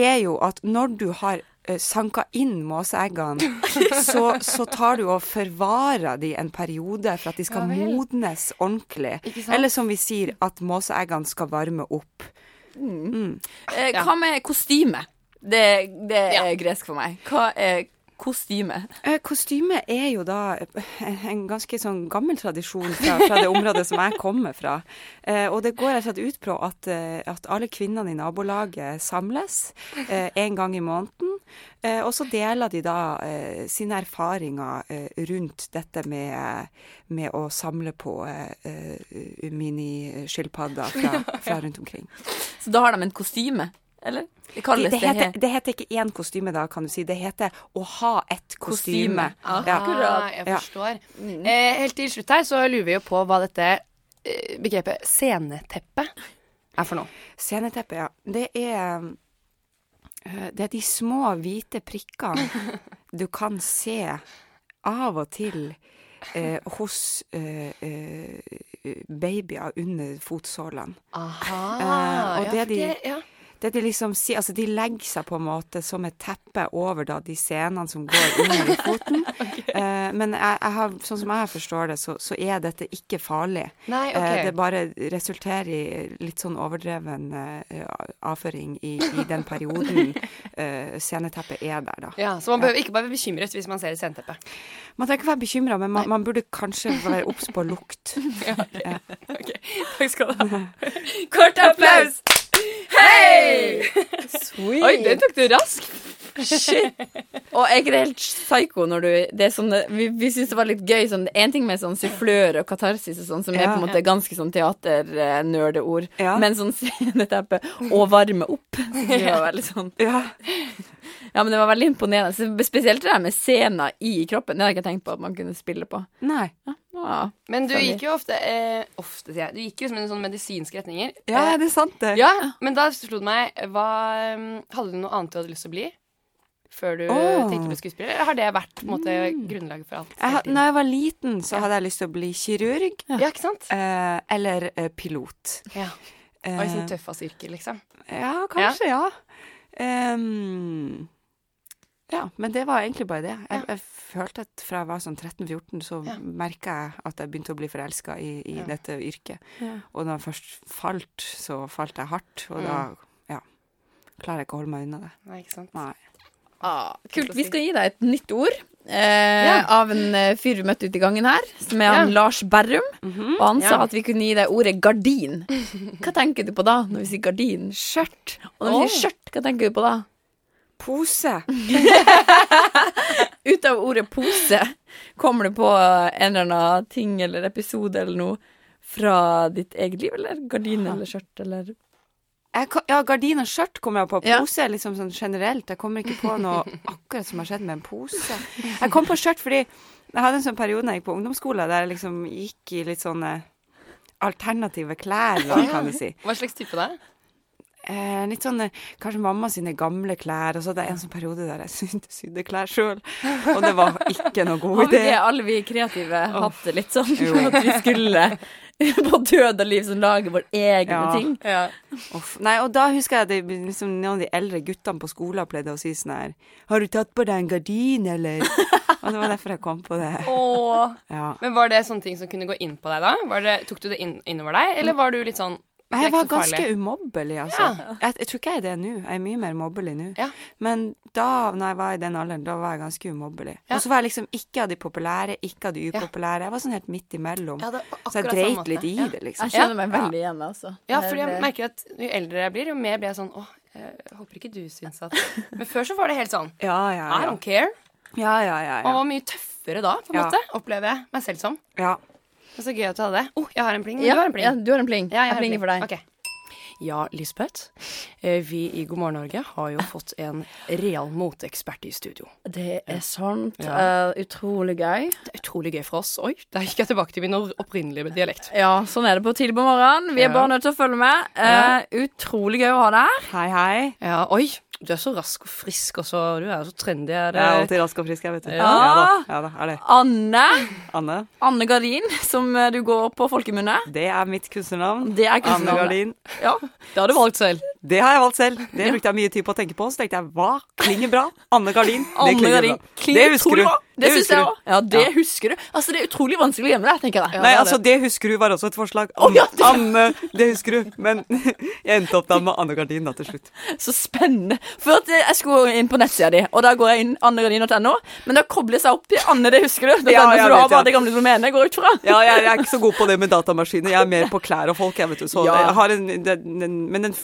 Speaker 3: er jo at når du har eh, sanka inn måseeggene, så, så tar du og forvarer de en periode for at de skal modnes ordentlig.
Speaker 2: Ikke sant?
Speaker 3: Eller som vi sier, at måseeggene skal varme opp.
Speaker 1: Eh,
Speaker 2: Ja.
Speaker 1: Hva med kostyme? Det, det er
Speaker 2: Ja.
Speaker 1: gresk for meg. Hva er kostyme?
Speaker 3: Eh, Kostyme er jo da eh, en ganske sånn gammel tradisjon fra, fra det området som jeg kommer fra. Eh, og det går rett og slett ut på at, eh, at alle kvinnene i nabolaget samles eh, en gang i måneden. Eh, og så deler de da eh, sine erfaringer eh, rundt dette med, med å samle på eh, eh, miniskilpadder fra, fra rundt omkring.
Speaker 1: Så da har de en kostyme, eller? Det kalles
Speaker 3: Det,
Speaker 1: det,
Speaker 3: det, heter,
Speaker 1: her.
Speaker 3: det heter ikke én kostyme da, kan du si. Det heter å ha et kostyme.
Speaker 1: Kostyme. Akkurat.
Speaker 2: Ah, jeg
Speaker 3: Ja.
Speaker 2: forstår. Eh, helt til slutt her så lurer vi jo på hva dette eh, begrepet sceneteppe er for noe.
Speaker 3: Sceneteppe, ja. Det er eh, Det er de små hvite prikkene du kan se av og til eh, hos eh, eh, babyer under fotsålene.
Speaker 2: Aha.
Speaker 3: Eh, og
Speaker 2: ja,
Speaker 3: det
Speaker 2: for
Speaker 3: de-
Speaker 2: ja.
Speaker 3: Det de liksom sier, altså de legger seg på en måte som et teppe over da de scenene som går under i foten. Eh, men jeg, jeg har, sånn som jeg forstår det, så, så er dette ikke farlig.
Speaker 2: Nei, ok.
Speaker 3: Eh, det bare resulterer i litt sånn overdreven eh, avføring i, i den perioden eh, sceneteppet er der, da.
Speaker 2: ja, Så man behøver ikke bare bli bekymret hvis man ser et sceneteppe.
Speaker 3: Man trenger ikke være bekymra, men man, man burde kanskje være obs på lukt.
Speaker 2: Takk skal du ha.
Speaker 1: Kort applaus!
Speaker 4: Sweet.
Speaker 1: Oi, den tok du raskt! Shit. Og jeg er ikke helt psyko når du det er sånn, Vi, vi syns det var litt gøy. Sånn, en ting med sånn sufflør og katarsis og sånn, som er
Speaker 3: Ja.
Speaker 1: på en måte ganske sånn teaternerdeord.
Speaker 3: Ja.
Speaker 1: Men sånn sceneteppe og varme opp. Det var veldig sånn.
Speaker 3: Ja.
Speaker 1: Ja, men det var veldig imponerende. Så Spesielt det der med scener i kroppen. Det hadde jeg ikke tenkt på at man kunne spille på.
Speaker 3: Nei.
Speaker 1: Ja.
Speaker 2: Men du gikk jo ofte eh, Ofte, sier jeg. Du gikk jo liksom i sånne medisinske retninger.
Speaker 3: Ja,
Speaker 2: Eh,
Speaker 3: det er sant, det.
Speaker 2: ja, men da slo det meg hva, eh, Hadde du noe annet du hadde lyst til å bli? Før du
Speaker 3: Åh. Mm.
Speaker 2: tenkte på skuespiller? Eller har det vært på en måte, grunnlaget for alt?
Speaker 3: Jeg,
Speaker 2: hele
Speaker 3: had-
Speaker 2: tiden?
Speaker 3: når jeg var liten, så hadde jeg lyst til å bli kirurg
Speaker 2: ja, ikke sant?
Speaker 3: eh, eller eh, pilot.
Speaker 2: Ja.
Speaker 3: Eh,
Speaker 2: Oi, sånn tøffas yrke, liksom.
Speaker 3: Ja, kanskje, ja. Ehm, ja, men det var egentlig bare det. Jeg, jeg følte at fra jeg var sånn 13-14, så
Speaker 2: Ja.
Speaker 3: merket merka jeg at jeg begynte å bli forelska i, i
Speaker 2: Ja.
Speaker 3: dette yrket. Og når jeg først falt, så falt jeg hardt, og da ja, klarer jeg ikke å holde meg unna det.
Speaker 2: Nei, ikke sant?
Speaker 3: Nei.
Speaker 1: Ah, kult.
Speaker 2: å
Speaker 1: Vi
Speaker 2: si.
Speaker 1: skal gi deg et nytt ord. Eh, Av en eh, fyr vi møtte ute i gangen her, som er han Lars Berrum. Og han sa
Speaker 2: Ja.
Speaker 1: at vi kunne gi deg ordet gardin. Hva tenker du på da, når vi sier gardin? Skjørt. Og når vi sier skjørt, hva tenker du på da?
Speaker 3: Pose!
Speaker 1: Ut av ordet pose kommer du på en eller annen ting eller episode eller noe fra ditt eget liv, eller gardin eller skjørt eller
Speaker 3: Jeg, ka- ja, gardin og skjørt kommer jeg på.
Speaker 1: Ja.
Speaker 3: Pose er liksom sånn generelt. Jeg kommer ikke på noe akkurat som har skjedd med en pose. Jeg kom på skjørt fordi jeg hadde en sånn periode da jeg gikk på ungdomsskolen der jeg liksom gikk i litt sånne alternative klær, da, kan du si.
Speaker 2: Hva slags type da?
Speaker 3: Eh, litt sånn eh, kanskje mamma sine gamle klær, og så hadde jeg en sånn periode der jeg sydde, sydde klær sjøl, og det var ikke noe
Speaker 1: Har
Speaker 3: god
Speaker 1: vi
Speaker 3: idé.
Speaker 1: ikke alle vi kreative hatt det litt sånn?
Speaker 3: Jo.
Speaker 1: At vi skulle på død og liv som lager våre egne
Speaker 3: Ja.
Speaker 1: ting?
Speaker 2: Ja.
Speaker 3: Uff. Nei, og da husker jeg at det, liksom, noen av de eldre guttene på skolen pleide å si sånn her Har du tatt på deg en gardin, eller? og det var derfor jeg kom på det.
Speaker 2: Åh.
Speaker 3: Ja.
Speaker 2: Men var det sånne ting som kunne gå inn på deg da? Var det, tok du det inn, innover deg, eller var du litt sånn det
Speaker 3: Mm. Nei,
Speaker 2: er
Speaker 3: jeg var
Speaker 2: ikke så farlig?
Speaker 3: ganske umobbelig, altså. Jeg, jeg tror ikke jeg er det nå. Jeg er mye mer mobbelig nå.
Speaker 2: Ja.
Speaker 3: Men da når jeg var i den alderen, da var jeg ganske umobbelig.
Speaker 2: Ja.
Speaker 3: Og så var jeg liksom ikke av de populære, ikke av de upopulære. Jeg var sånn helt midt imellom.
Speaker 2: Ja, det var
Speaker 3: så jeg
Speaker 2: akkurat samme måte.
Speaker 3: dreit litt i
Speaker 2: Ja.
Speaker 3: det, liksom.
Speaker 1: Jeg skjønner meg veldig igjen, altså.
Speaker 2: Ja,
Speaker 1: Det er-
Speaker 2: fordi
Speaker 4: Eh,
Speaker 2: jeg merker at jo eldre jeg blir, jo mer blir jeg sånn Åh, jeg håper ikke du syns at Men før så var det helt sånn
Speaker 3: Ja, ja,
Speaker 2: I
Speaker 3: ja.
Speaker 2: don't care.
Speaker 3: ja, ja, ja,
Speaker 2: Man
Speaker 3: ja.
Speaker 2: var mye tøffere da, på en
Speaker 3: Ja.
Speaker 2: måte, opplever jeg meg selv som.
Speaker 3: ja.
Speaker 2: Men så gøy at du hadde det. Å, jeg har en pling.
Speaker 1: ja,
Speaker 2: Du har en pling.
Speaker 1: Ja, du har en pling.
Speaker 2: Ja,
Speaker 1: jeg,
Speaker 2: har en
Speaker 1: plinger for
Speaker 2: pling.
Speaker 1: deg.
Speaker 2: Ok.
Speaker 4: Ja, Lisbeth. eh, Vi i God morgen Norge har jo fått en real moteekspert i studio.
Speaker 1: Det er sant.
Speaker 4: Ja.
Speaker 1: Eh, utrolig gøy.
Speaker 4: Det er utrolig gøy for oss. Oi, der gikk jeg tilbake til min opprinnelige dialekt.
Speaker 1: Ja, sånn er det på tidlig på morgenen. Vi er
Speaker 4: Ja.
Speaker 1: bare nødt til å følge med. Eh, utrolig gøy å ha deg her.
Speaker 3: Hei, hei.
Speaker 4: Ja, oi, du er så rask og frisk også. Du er jo så trendy. Er
Speaker 3: Jeg er
Speaker 4: det.
Speaker 3: alltid rask og frisk, jeg, vet du.
Speaker 4: Ja.
Speaker 3: da. Ja, da. Er det
Speaker 1: Anne.
Speaker 3: Anne?
Speaker 1: Anne Gardin, som eh, du går på folkemunne.
Speaker 3: Det er mitt kunstnernavn.
Speaker 1: Det er
Speaker 3: Anne
Speaker 1: kunstnernavnet.
Speaker 3: Gardin.
Speaker 1: Ja.
Speaker 4: Det har du valgt selv.
Speaker 3: Det har jeg valgt selv. Det brukte jeg mye tid på å tenke på. Så tenkte jeg hva klinger bra? Anne Gardin. Det
Speaker 1: Anne
Speaker 3: klinger
Speaker 1: Gardin.
Speaker 3: bra. Det husker du.
Speaker 1: Det syns jeg
Speaker 3: husker du.
Speaker 1: òg. Ja, det husker du. Altså, det er utrolig vanskelig å gjemme deg, tenker jeg.
Speaker 3: Nei, altså, det husker du var også et forslag. Anne,
Speaker 1: ja, det-
Speaker 3: Anne, det husker du. Men jeg endte opp da med Anne Gardin da til slutt.
Speaker 1: Så spennende. For at eh, jeg skulle inn på nettsida di, og da går jeg inn annegardin.no, men da kobler jeg seg opp til Anne, det husker du.
Speaker 3: Ja,
Speaker 1: .no,
Speaker 3: jeg
Speaker 1: så du
Speaker 3: vet,
Speaker 1: har
Speaker 3: ja.
Speaker 1: bare det gamle domenet, går jeg ut fra.
Speaker 3: Ja, jeg, jeg er ikke så god på det med datamaskiner. Jeg er mer på klær og folk, jeg, vet du. Så
Speaker 1: Ja.
Speaker 3: jeg har en den, den, Men den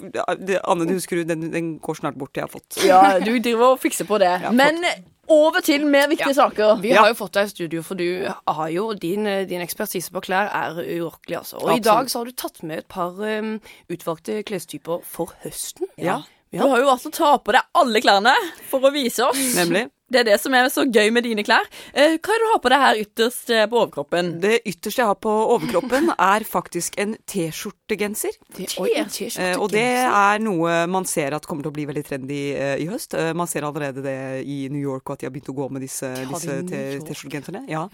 Speaker 3: det, Anne, du husker du, den, den går snart bort, jeg har fått.
Speaker 1: Ja, du driver og fikser på det. men over til mer viktige saker.
Speaker 4: Vi har jo fått deg i studio, for du har jo din, eh, din ekspertise på klær er urokkelig, altså. Og
Speaker 3: Absolutt.
Speaker 4: i dag så har du tatt med et par eh, utvalgte klestyper for høsten.
Speaker 3: Ja.
Speaker 1: Du har jo altså ta på deg alle klærne for å vise oss.
Speaker 3: Nemlig.
Speaker 1: Det er det som er så gøy med dine klær. Eh, hva er det du har på deg her ytterst eh, på overkroppen?
Speaker 3: Det ytterste jeg har på overkroppen, er faktisk en T-skjortegenser.
Speaker 4: Oi, en t-skjorte.
Speaker 3: Eh, og det er noe man ser at kommer til å bli veldig trendy eh, i høst. Eh, man ser allerede det i New York, og at de har begynt å gå med disse, disse T- T-skjortegenserne. Ja.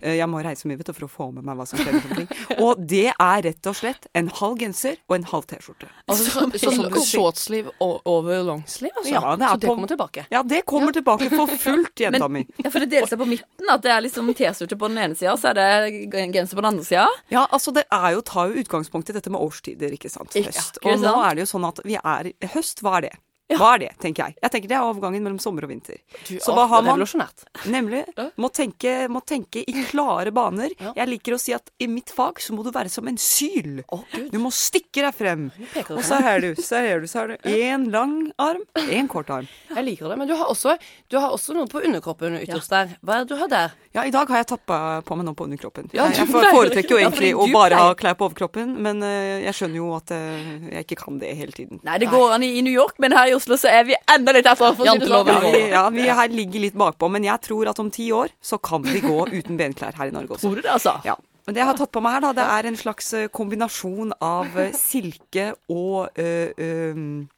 Speaker 3: Eh, jeg må reise mye vet du, for å få med meg hva som skjer. rundt omkring. og det er rett og slett en halv genser og en halv T-skjorte.
Speaker 4: Altså, så, så,
Speaker 3: sånn som du sier.
Speaker 4: shortsliv o- over longsliv, altså.
Speaker 3: Ja, det er
Speaker 4: så det
Speaker 3: på-
Speaker 4: kommer tilbake.
Speaker 3: Ja, det kommer tilbake for fullt, jenta mi.
Speaker 1: Ja, for det deler seg på midten, at det er liksom T-skjorte på den ene sida, så er det g- genser på den andre sida.
Speaker 3: Ja, altså det er jo, tar jo utgangspunkt i dette med årstider, ikke sant.
Speaker 1: Ikke
Speaker 3: Høst.
Speaker 1: sant?
Speaker 3: Og nå er det jo sånn at vi er Høst, hva er det? Var det, tenker jeg. Jeg tenker Det er overgangen mellom sommer og vinter.
Speaker 2: Du,
Speaker 3: Så
Speaker 2: å,
Speaker 3: hva
Speaker 2: det
Speaker 3: har
Speaker 2: er
Speaker 3: man?
Speaker 2: revolusjonært.
Speaker 3: Nemlig. Må tenke, må tenke i klare baner.
Speaker 2: Ja.
Speaker 3: Jeg liker å si at i mitt fag så må du være som en syl.
Speaker 2: Å, Gud.
Speaker 3: Du må stikke deg frem.
Speaker 2: peker
Speaker 3: Og så her er du, så her er du, så har du én lang arm, én kort arm.
Speaker 2: Jeg liker det. Men du har også, du har også noe på underkroppen ytterst der. Hva er det du har der?
Speaker 3: Ja, i dag har jeg tappa på meg noe på underkroppen.
Speaker 2: Ja,
Speaker 3: jeg
Speaker 2: du
Speaker 3: for-
Speaker 2: pleier-
Speaker 3: foretrekker jo
Speaker 2: Ja,
Speaker 3: egentlig
Speaker 2: fordi
Speaker 3: å
Speaker 2: du
Speaker 3: bare ha
Speaker 2: pleier-
Speaker 3: klær på overkroppen, men eh, jeg skjønner jo at eh, jeg ikke kan det hele tiden.
Speaker 1: Nei, det går an i i New York, men her i Oslo så er vi enda litt etter. for å si det sånn.
Speaker 3: Ja,
Speaker 2: Janteloven.
Speaker 3: vi, ja, vi her ligger litt bakpå, men jeg tror at om ti år så kan vi gå uten benklær her i Norge også.
Speaker 1: Tror du det, altså?
Speaker 3: Ja. Men det jeg har tatt på meg her, da, det er en slags eh, kombinasjon av eh, silke og eh, um,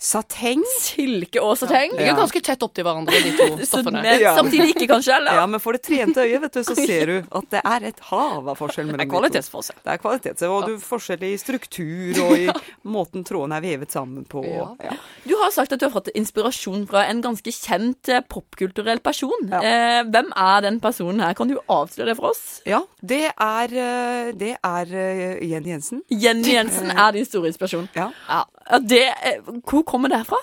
Speaker 3: sateng.
Speaker 1: Silke og sateng?
Speaker 2: De
Speaker 3: Ja.
Speaker 2: ligger ganske tett opp til hverandre, de to
Speaker 1: Så,
Speaker 2: stoffene.
Speaker 1: men
Speaker 3: Ja.
Speaker 1: samtidig ikke, kanskje? Eller?
Speaker 3: Ja, men for det trente øyet, vet du, så ser du at det er et hav av forskjell mellom
Speaker 2: Det er
Speaker 3: de to.
Speaker 2: kvalitetsforskjell.
Speaker 3: Det er kvalitet, og du forskjell i struktur og i måten trådene er vevet sammen på. og- Ja.
Speaker 1: Du har sagt at du har fått inspirasjon fra en ganske kjent eh, popkulturell person. Eh, hvem er den personen her? Kan du avsløre det for oss?
Speaker 3: Ja, det er, eh, det er eh, Jenny Jensen.
Speaker 1: Jenny Jensen er din store inspirasjon.
Speaker 3: Ja.
Speaker 1: Ja, det, eh, hvor kommer det fra?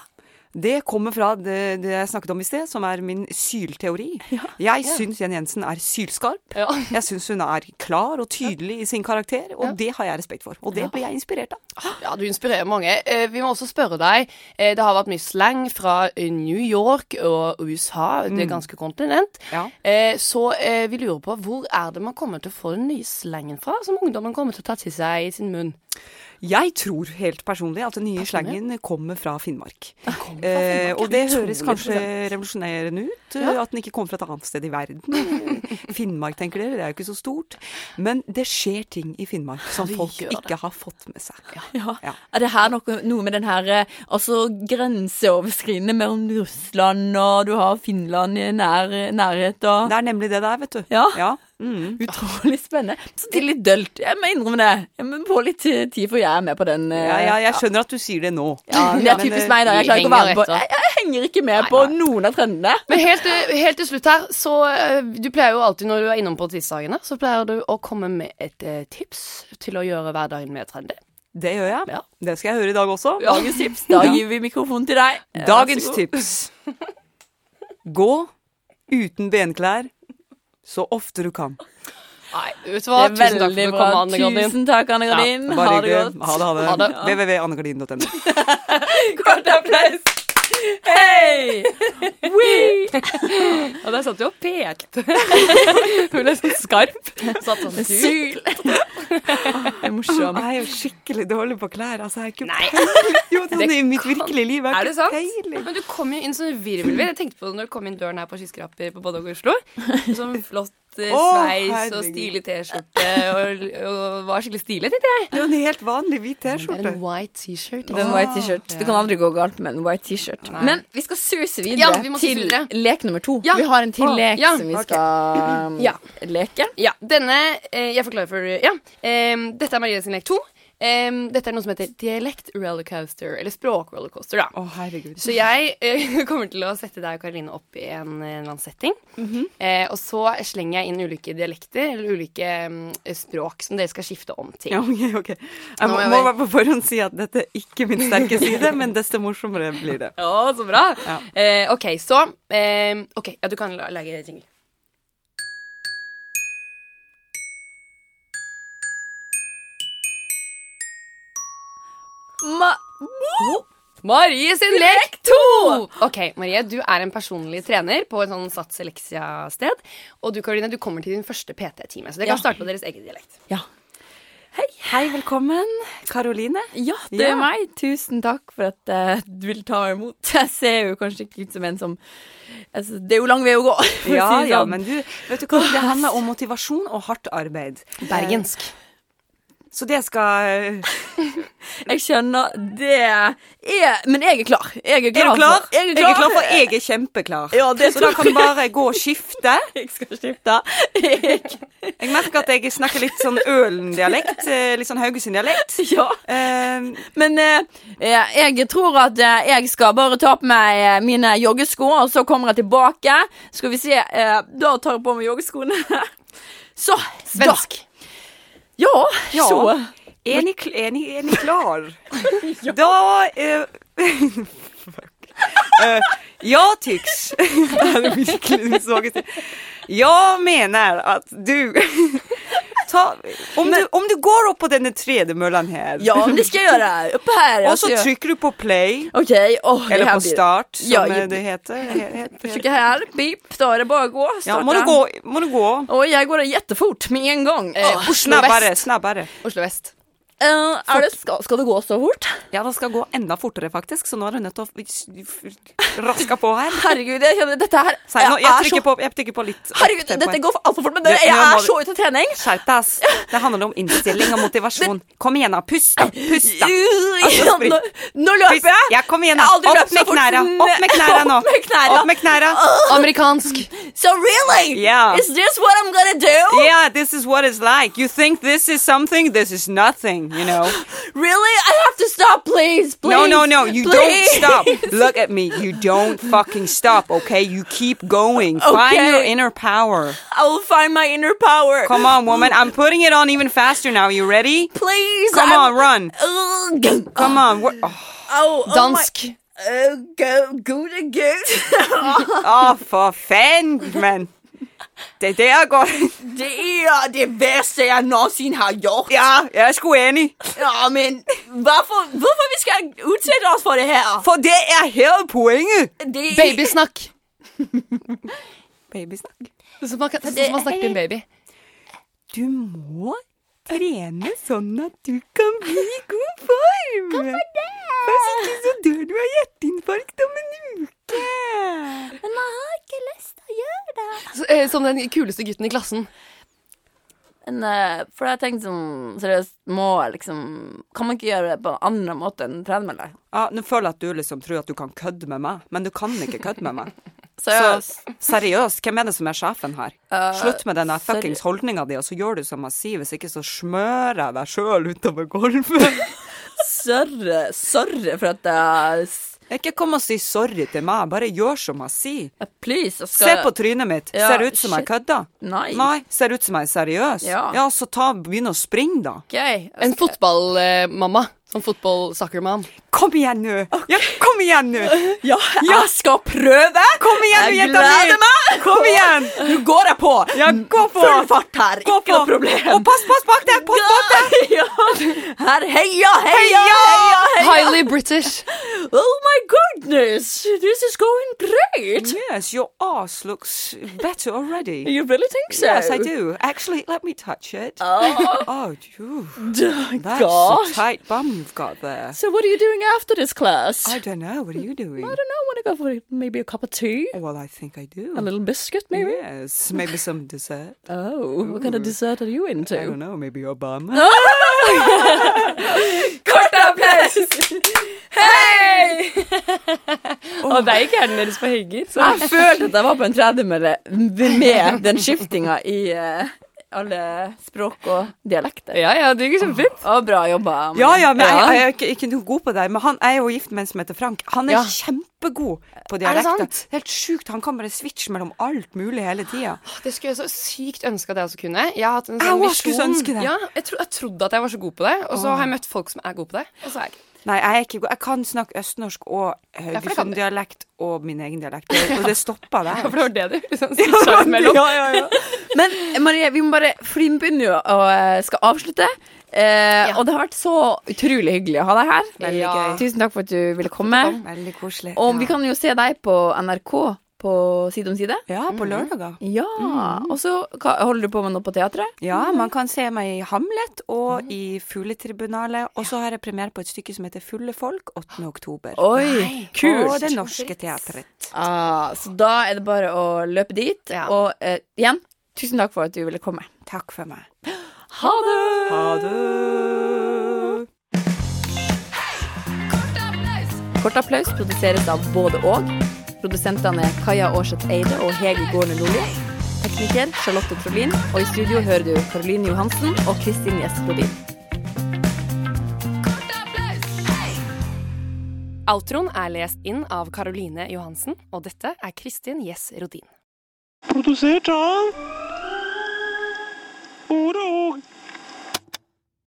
Speaker 3: Det kommer fra det, det jeg snakket om i sted, som er min sylteori. Jeg syns Jenny Jensen er sylskarp.
Speaker 2: Ja.
Speaker 3: Jeg syns hun er klar og tydelig i sin karakter, og det har jeg respekt for. Og det ble jeg inspirert av.
Speaker 2: Ja, du inspirerer mange. Eh, vi må også spørre deg. Eh, det har vært mye slang fra eh, New York og USA, det er ganske kontinent.
Speaker 3: Ja.
Speaker 2: Eh, så eh, vi lurer på hvor er det man kommer til å få den nye slangen fra, som ungdommen kommer til å ta til seg i sin munn?
Speaker 3: Jeg tror helt personlig at den nye slangen kommer fra Finnmark. Eh, og det høres kanskje revolusjonerende ut, eh, at den ikke kommer fra et annet sted i verden. Finnmark, tenker dere, det er jo ikke så stort. Men det skjer ting i Finnmark som
Speaker 2: Det
Speaker 3: folk
Speaker 2: gjør det.
Speaker 3: ikke har fått med seg.
Speaker 1: Ja.
Speaker 3: Ja.
Speaker 1: Er det her noe, noe med den her eh, altså, grenseoverskridende mellom Russland og du har Finland i nær, nærhet og
Speaker 3: Det er nemlig det det er, vet du.
Speaker 1: Ja.
Speaker 3: Mm.
Speaker 1: Utrolig spennende. Så til litt dølt. Jeg må innrømme det. Jeg må få litt eh, tid for jeg er med på den. eh,
Speaker 3: Ja, ja, jeg skjønner at du sier det nå.
Speaker 1: ja, det er
Speaker 3: Men, eh,
Speaker 1: typisk meg, da. Jeg
Speaker 2: vi
Speaker 1: klarer ikke å
Speaker 2: henger
Speaker 1: være på
Speaker 2: etter.
Speaker 1: Jeg, jeg henger ikke med på noen av trendene.
Speaker 2: Men helt, eh, helt til slutt her, så eh, du pleier jo alltid når du er innom på tirsdagene, så pleier du å komme med et eh, tips til å gjøre hverdagen mer trendy.
Speaker 3: Det gjør jeg.
Speaker 2: Ja.
Speaker 3: Det skal jeg høre i dag også.
Speaker 1: Dagens tips. Da gir vi mikrofonen til deg. Eh, Vær så
Speaker 3: Dagens
Speaker 1: god.
Speaker 3: tips. Gå uten benklær så ofte du kan.
Speaker 2: Nei, vet du
Speaker 1: Det
Speaker 2: hva?
Speaker 1: er
Speaker 2: Tusen takk for at
Speaker 1: veldig
Speaker 2: du
Speaker 1: bra.
Speaker 2: kom, Anne Gardin.
Speaker 1: Tusen takk, Anne Gardin.
Speaker 3: Bare
Speaker 1: ha det
Speaker 3: hyggelig.
Speaker 1: godt.
Speaker 3: Ha det, ha det.
Speaker 2: Ha det.
Speaker 3: www.annegardind.no.
Speaker 1: Kort applaus. Hei!
Speaker 2: Ja, der satt du og pekte. Hun ble sånn skarp. Satt sånn
Speaker 1: Syl. Det er morsomt.
Speaker 3: Jeg er jo skikkelig dårlig på klær. Altså, jeg er ikke peiling. Jo, sånn i mitt virkelige liv. Jeg
Speaker 2: Er
Speaker 3: har
Speaker 2: det
Speaker 3: ikke
Speaker 2: sant?
Speaker 3: peiling.
Speaker 2: Men du kom jo inn som en virvelvind. Jeg tenkte på det når du kom inn døren her på skyskraper på Bodø og Oslo. Sånn flott eh,
Speaker 3: Å,
Speaker 2: sveis og
Speaker 3: herregud.
Speaker 2: stilig T-skjorte og, og var skikkelig stilig, tenkte jeg.
Speaker 3: Det er jo en helt vanlig hvit T-skjorte.
Speaker 2: white T-shirt.
Speaker 1: Det er en white t-shirt. altså. Det kan aldri gå galt med en white t-shirt. Men vi skal suse videre
Speaker 2: Ja, vi må suse
Speaker 1: til
Speaker 2: videre.
Speaker 1: lek nummer to.
Speaker 2: Ja.
Speaker 1: Vi har en til
Speaker 2: Å,
Speaker 1: lek
Speaker 2: ja,
Speaker 1: som vi
Speaker 2: ok.
Speaker 1: skal um,
Speaker 2: Ja.
Speaker 1: leke.
Speaker 2: Ja, denne eh, Jeg forklarer for Ja. Eh, dette er Marie sin lek to. Eh, dette er noe som heter dialekt rollercoaster, eller språkrollercoaster, da.
Speaker 3: Å, herregud.
Speaker 2: Så jeg eh, kommer til å sette deg og Karoline opp i en, en eller annen setting. eh, og så slenger jeg inn ulike dialekter eller ulike mm, språk som dere skal skifte om til.
Speaker 3: Ja, ok, ok. Jeg må,
Speaker 2: må jeg
Speaker 3: må
Speaker 2: bare-
Speaker 3: bare på forhånd si at dette er ikke min sterke side, men desto morsommere blir det.
Speaker 2: Ja, så bra.
Speaker 3: Ja.
Speaker 2: Eh, OK, så eh, OK, ja, du kan la- lage jingle.
Speaker 1: Ma
Speaker 2: Marie sin lek 2! OK, Marie, du er en personlig trener på et sånn Sats Elixia-sted. Og du, Karoline, du kommer til din første PT-time, så dere
Speaker 1: Ja.
Speaker 2: kan starte på deres egen dialekt.
Speaker 1: ja.
Speaker 3: Hei, velkommen. Karoline.
Speaker 1: ja, det er
Speaker 3: Ja.
Speaker 1: meg. Tusen takk for at eh, du vil ta imot. Jeg ser jo kanskje ikke ut som en som altså, Det er jo lang vei å gå, for å
Speaker 3: Ja,
Speaker 1: si det
Speaker 3: ja,
Speaker 1: sånn.
Speaker 3: men du, vet du hva, det handler om motivasjon og hardt arbeid.
Speaker 2: Bergensk.
Speaker 3: Så det
Speaker 1: eh,
Speaker 3: skal
Speaker 1: Jeg skjønner det er Men jeg er klar. Jeg er klar,
Speaker 3: Er du klar?
Speaker 1: For, jeg er klar.
Speaker 3: for jeg er kjempeklar.
Speaker 1: Ja, det
Speaker 3: Så da kan du bare gå og skifte.
Speaker 1: jeg skal skifte. Jeg,
Speaker 3: Jeg merker at jeg snakker litt sånn Ølen-dialekt. eh, Litt sånn Haugesund-dialekt.
Speaker 1: ja.
Speaker 3: Eh,
Speaker 1: Men eh, eh, jeg tror at eh, jeg skal bare ta på meg eh, mine joggesko, og så kommer jeg tilbake. Skal vi se. Eh, da tar jeg på meg joggeskoene. Så.
Speaker 2: Svensk.
Speaker 1: Da. Ja,
Speaker 3: Ja.
Speaker 1: så.
Speaker 3: Er ni, kl- er ni, er ni klar? Da eh, Fuck. Eh, jag tycks... Det här är verkligen sågigt. jag menar att du... Ta, om, du om du går upp på den här tredemöllan här
Speaker 1: Ja, men det skal jeg gjøre. Opp her.
Speaker 3: och så
Speaker 1: altså.
Speaker 3: trycker du på play
Speaker 1: OK. åh, det
Speaker 3: eller
Speaker 1: her
Speaker 3: på
Speaker 1: blir-
Speaker 3: start som
Speaker 1: Ja,
Speaker 3: eh,
Speaker 1: jag-
Speaker 3: det heter. He- he- he-
Speaker 1: Trykker her. Beep. Da er det bare å gå.
Speaker 3: Ja,
Speaker 1: Starte.
Speaker 3: må du gå, Eh, må du gå.
Speaker 1: Og jeg går kjempefort med en gang. Åh,
Speaker 3: Snabbare, snabbare.
Speaker 2: Oslo vest.
Speaker 1: eh, er det, skal, skal det gå så fort?
Speaker 3: Ja, det skal gå enda fortere faktisk, så nå er du nødt til å raske på her.
Speaker 1: Herregud, jeg kjenner dette her
Speaker 3: Si nå,
Speaker 1: jeg er
Speaker 3: jeg
Speaker 1: så-
Speaker 3: trykker på, jeg trykker på litt.
Speaker 1: Herregud,
Speaker 3: opp-tempoet.
Speaker 1: dette går altfor fort, men
Speaker 3: Det-
Speaker 1: det, jeg
Speaker 3: nå må
Speaker 1: er
Speaker 3: du-
Speaker 1: så ute av trening.
Speaker 3: Skjerp deg, ass. Det handler om innstilling og motivasjon. Kom igjen, da. Pust, da. Pust, da.
Speaker 1: Uh,
Speaker 3: Altså,
Speaker 1: nå, nå løper jeg!
Speaker 3: Ja, kom igjen,
Speaker 1: Jeg
Speaker 3: da.
Speaker 1: har aldri
Speaker 3: Opp
Speaker 1: løpt så
Speaker 3: med
Speaker 1: fort
Speaker 3: knæra.
Speaker 1: siden-
Speaker 3: Opp med knæra nå.
Speaker 1: Opp med knæra.
Speaker 3: Opp med knæra.
Speaker 2: Amerikansk.
Speaker 1: So really?
Speaker 3: Yeah.
Speaker 1: Is this what I'm gonna do?
Speaker 3: Yeah, this is what it's like. You think this is something, this is nothing, you know.
Speaker 1: Really? I have to stop, please, please.
Speaker 3: No, no, no, you
Speaker 1: please.
Speaker 3: don't stop. Look at me. You don't fucking stop, okay? You keep going. Find
Speaker 1: Okay.
Speaker 3: your inner power.
Speaker 1: I will find my inner power.
Speaker 3: Come on, woman. I'm putting it on even faster now. You ready?
Speaker 1: please.
Speaker 3: Come
Speaker 1: I'm-
Speaker 3: on, run.
Speaker 1: Ugh.
Speaker 3: Come on. We're- Oh,
Speaker 1: Oh, oh
Speaker 2: Dansk.
Speaker 1: My, uh, go, good, good.
Speaker 3: oh, for fan, man. Det der går
Speaker 1: det er det verste jeg noensinne har gjort.
Speaker 3: Ja, jeg er sgu enig.
Speaker 1: Ja, men hvorfor, hvorfor vi skal utsette oss for det her?
Speaker 3: For det er hele poenget.
Speaker 1: Det,
Speaker 2: Babysnakk.
Speaker 3: Babysnakk.
Speaker 2: Det er som man- det er som man snakker til en baby.
Speaker 3: Du må trene sånn at du kan bli i god form. Hvorfor det? Hvis ikke så dør du av hjerteinfarkt om en uke.
Speaker 1: Men jeg har ikke lyst til å gjøre det.
Speaker 2: Så, eh, Som den kuleste gutten i klassen.
Speaker 1: Men, eh, for jeg tenkte sånn Seriøst, må jeg liksom Kan man ikke gjøre det på en annen måte enn tredemølle?
Speaker 3: Ja, nå føler jeg at du liksom tror at du kan kødde med meg, men du kan ikke kødde med meg. Så
Speaker 1: Seriøst.
Speaker 3: seriøst, hvem er det som er sjefen her?
Speaker 1: Eh,
Speaker 3: Slutt med den der
Speaker 1: sorry.
Speaker 3: fuckings holdninga di, og så gjør du som jeg sier, hvis ikke så smører jeg deg sjøl utover gulvet.
Speaker 1: Sørre, sørre for at jeg s-
Speaker 3: Ikke kom og si sorry til meg, bare gjør som jeg sier.
Speaker 1: eh, Please, jeg skal
Speaker 3: Se på trynet mitt,
Speaker 1: Ja,
Speaker 3: ser ut som jeg
Speaker 1: shit.
Speaker 3: kødder?
Speaker 1: Nei.
Speaker 3: Nei, ser ut som jeg er seriøs?
Speaker 1: Ja.
Speaker 3: så ta, begynn å springe, da.
Speaker 1: OK. Jeg
Speaker 2: En fotballmamma. Sånn fotball-soccer-mom.
Speaker 3: Kom igjen nå! Ja, kom igjen nå!
Speaker 1: Ja, jeg skal prøve!
Speaker 3: Kom igjen nå,
Speaker 1: Jeg
Speaker 3: jenta
Speaker 1: gleder
Speaker 3: mi! Kom igjen!
Speaker 1: Nå går jeg på!
Speaker 3: Ja, gå på!
Speaker 1: Full fart her,
Speaker 3: Gå
Speaker 1: ikke noe
Speaker 3: på.
Speaker 1: problem.
Speaker 3: Og pass, pass bak deg! Pass bak deg!
Speaker 1: Ja. Her, heia, heia, heia, heia!
Speaker 2: Highly British.
Speaker 1: Oh my goodness, this is going great!
Speaker 3: Yes, your ass looks better already.
Speaker 1: You really think so?
Speaker 3: Yes, I do. Actually, let me touch it.
Speaker 1: Oh,
Speaker 3: Oh, you. That's a
Speaker 1: gosh.
Speaker 3: tight bum you've got there.
Speaker 1: Oh So what are you doing after this class?
Speaker 3: I don't know. What are you doing?
Speaker 1: I don't know. Want to go for maybe a cup of tea,
Speaker 3: Well, I think I do.
Speaker 1: a little biscuit, maybe.
Speaker 3: Yes, maybe some dessert.
Speaker 1: Oh, what kind of dessert are you
Speaker 3: I
Speaker 1: into?
Speaker 3: don't know. Maybe your bum.
Speaker 1: Kort applaus! Hei! Og det er ikke her deres på hygger. Jeg følte at jeg var på en tredemølle med den skiftinga i eh, alle språk og dialekter.
Speaker 2: Ja, ja, det gikk kjempefint.
Speaker 1: Og bra jobba. Amalie.
Speaker 3: Ja, ja, men jeg, jeg er ikke, ikke noe god på det. Men han jeg er jo gift med en som heter Frank. Han er
Speaker 2: Ja.
Speaker 3: kjempegod på
Speaker 2: det
Speaker 3: dialekter.
Speaker 2: sant?
Speaker 3: Helt sjukt. Han kan bare switche mellom alt mulig hele tida.
Speaker 2: Det skulle jeg så sykt ønske at jeg også kunne. Jeg har hatt en
Speaker 3: Jeg
Speaker 2: sånn
Speaker 3: også skulle så ønske det.
Speaker 2: Ja, jeg, tro, jeg trodde at jeg var så god på det, og så har jeg møtt folk som er gode på det. Og så er jeg ikke.
Speaker 3: Nei, jeg er ikke god. Jeg kan snakke østnorsk og
Speaker 2: for det kan du.
Speaker 3: Haugesund-dialekt og min egen dialekt. Og- Og det stopper der.
Speaker 2: For det var det du liksom switcha imellom.
Speaker 3: Ja, ja, ja.
Speaker 1: Men Marie, vi må bare Fordi vi begynner jo å eh, skal avslutte. Eh, Og det har vært så utrolig hyggelig å ha deg her.
Speaker 3: Veldig
Speaker 2: Ja.
Speaker 3: gøy.
Speaker 1: Tusen takk for at du ville komme.
Speaker 3: Veldig koselig.
Speaker 1: Og vi
Speaker 3: ja.
Speaker 1: kan jo se deg på NRK på Side om side.
Speaker 3: ja,
Speaker 2: Mm.
Speaker 3: på lørdager.
Speaker 1: Ja. Og så hva- holder du på med noe på teatret.
Speaker 3: Ja,
Speaker 2: Mm.
Speaker 3: man kan se meg i Hamlet og i Fugletribunalet. Og så har jeg premiere på et stykke som heter Fulle folk 8. oktober.
Speaker 1: Oi,
Speaker 3: På
Speaker 1: kult!
Speaker 3: Det Norske Teatret.
Speaker 1: Ah, så da er det bare å løpe dit.
Speaker 2: Ja.
Speaker 1: Og eh, igjen, tusen takk for at du ville komme.
Speaker 3: Takk for meg.
Speaker 1: Ha det!
Speaker 3: Ha det!
Speaker 1: Kort applaus produseres av både og. Produsentene er Kaja Aarseth Eide og Hege Gården Nordli. Tekniker Charlotte Trolin. Og i studio hører du Karoline Johansen og Kristin Gjest Rodin.
Speaker 2: Outroen er lest inn av Caroline Johansen, og dette er Kristin Gjess Rodin.
Speaker 5: produsert av Ordet og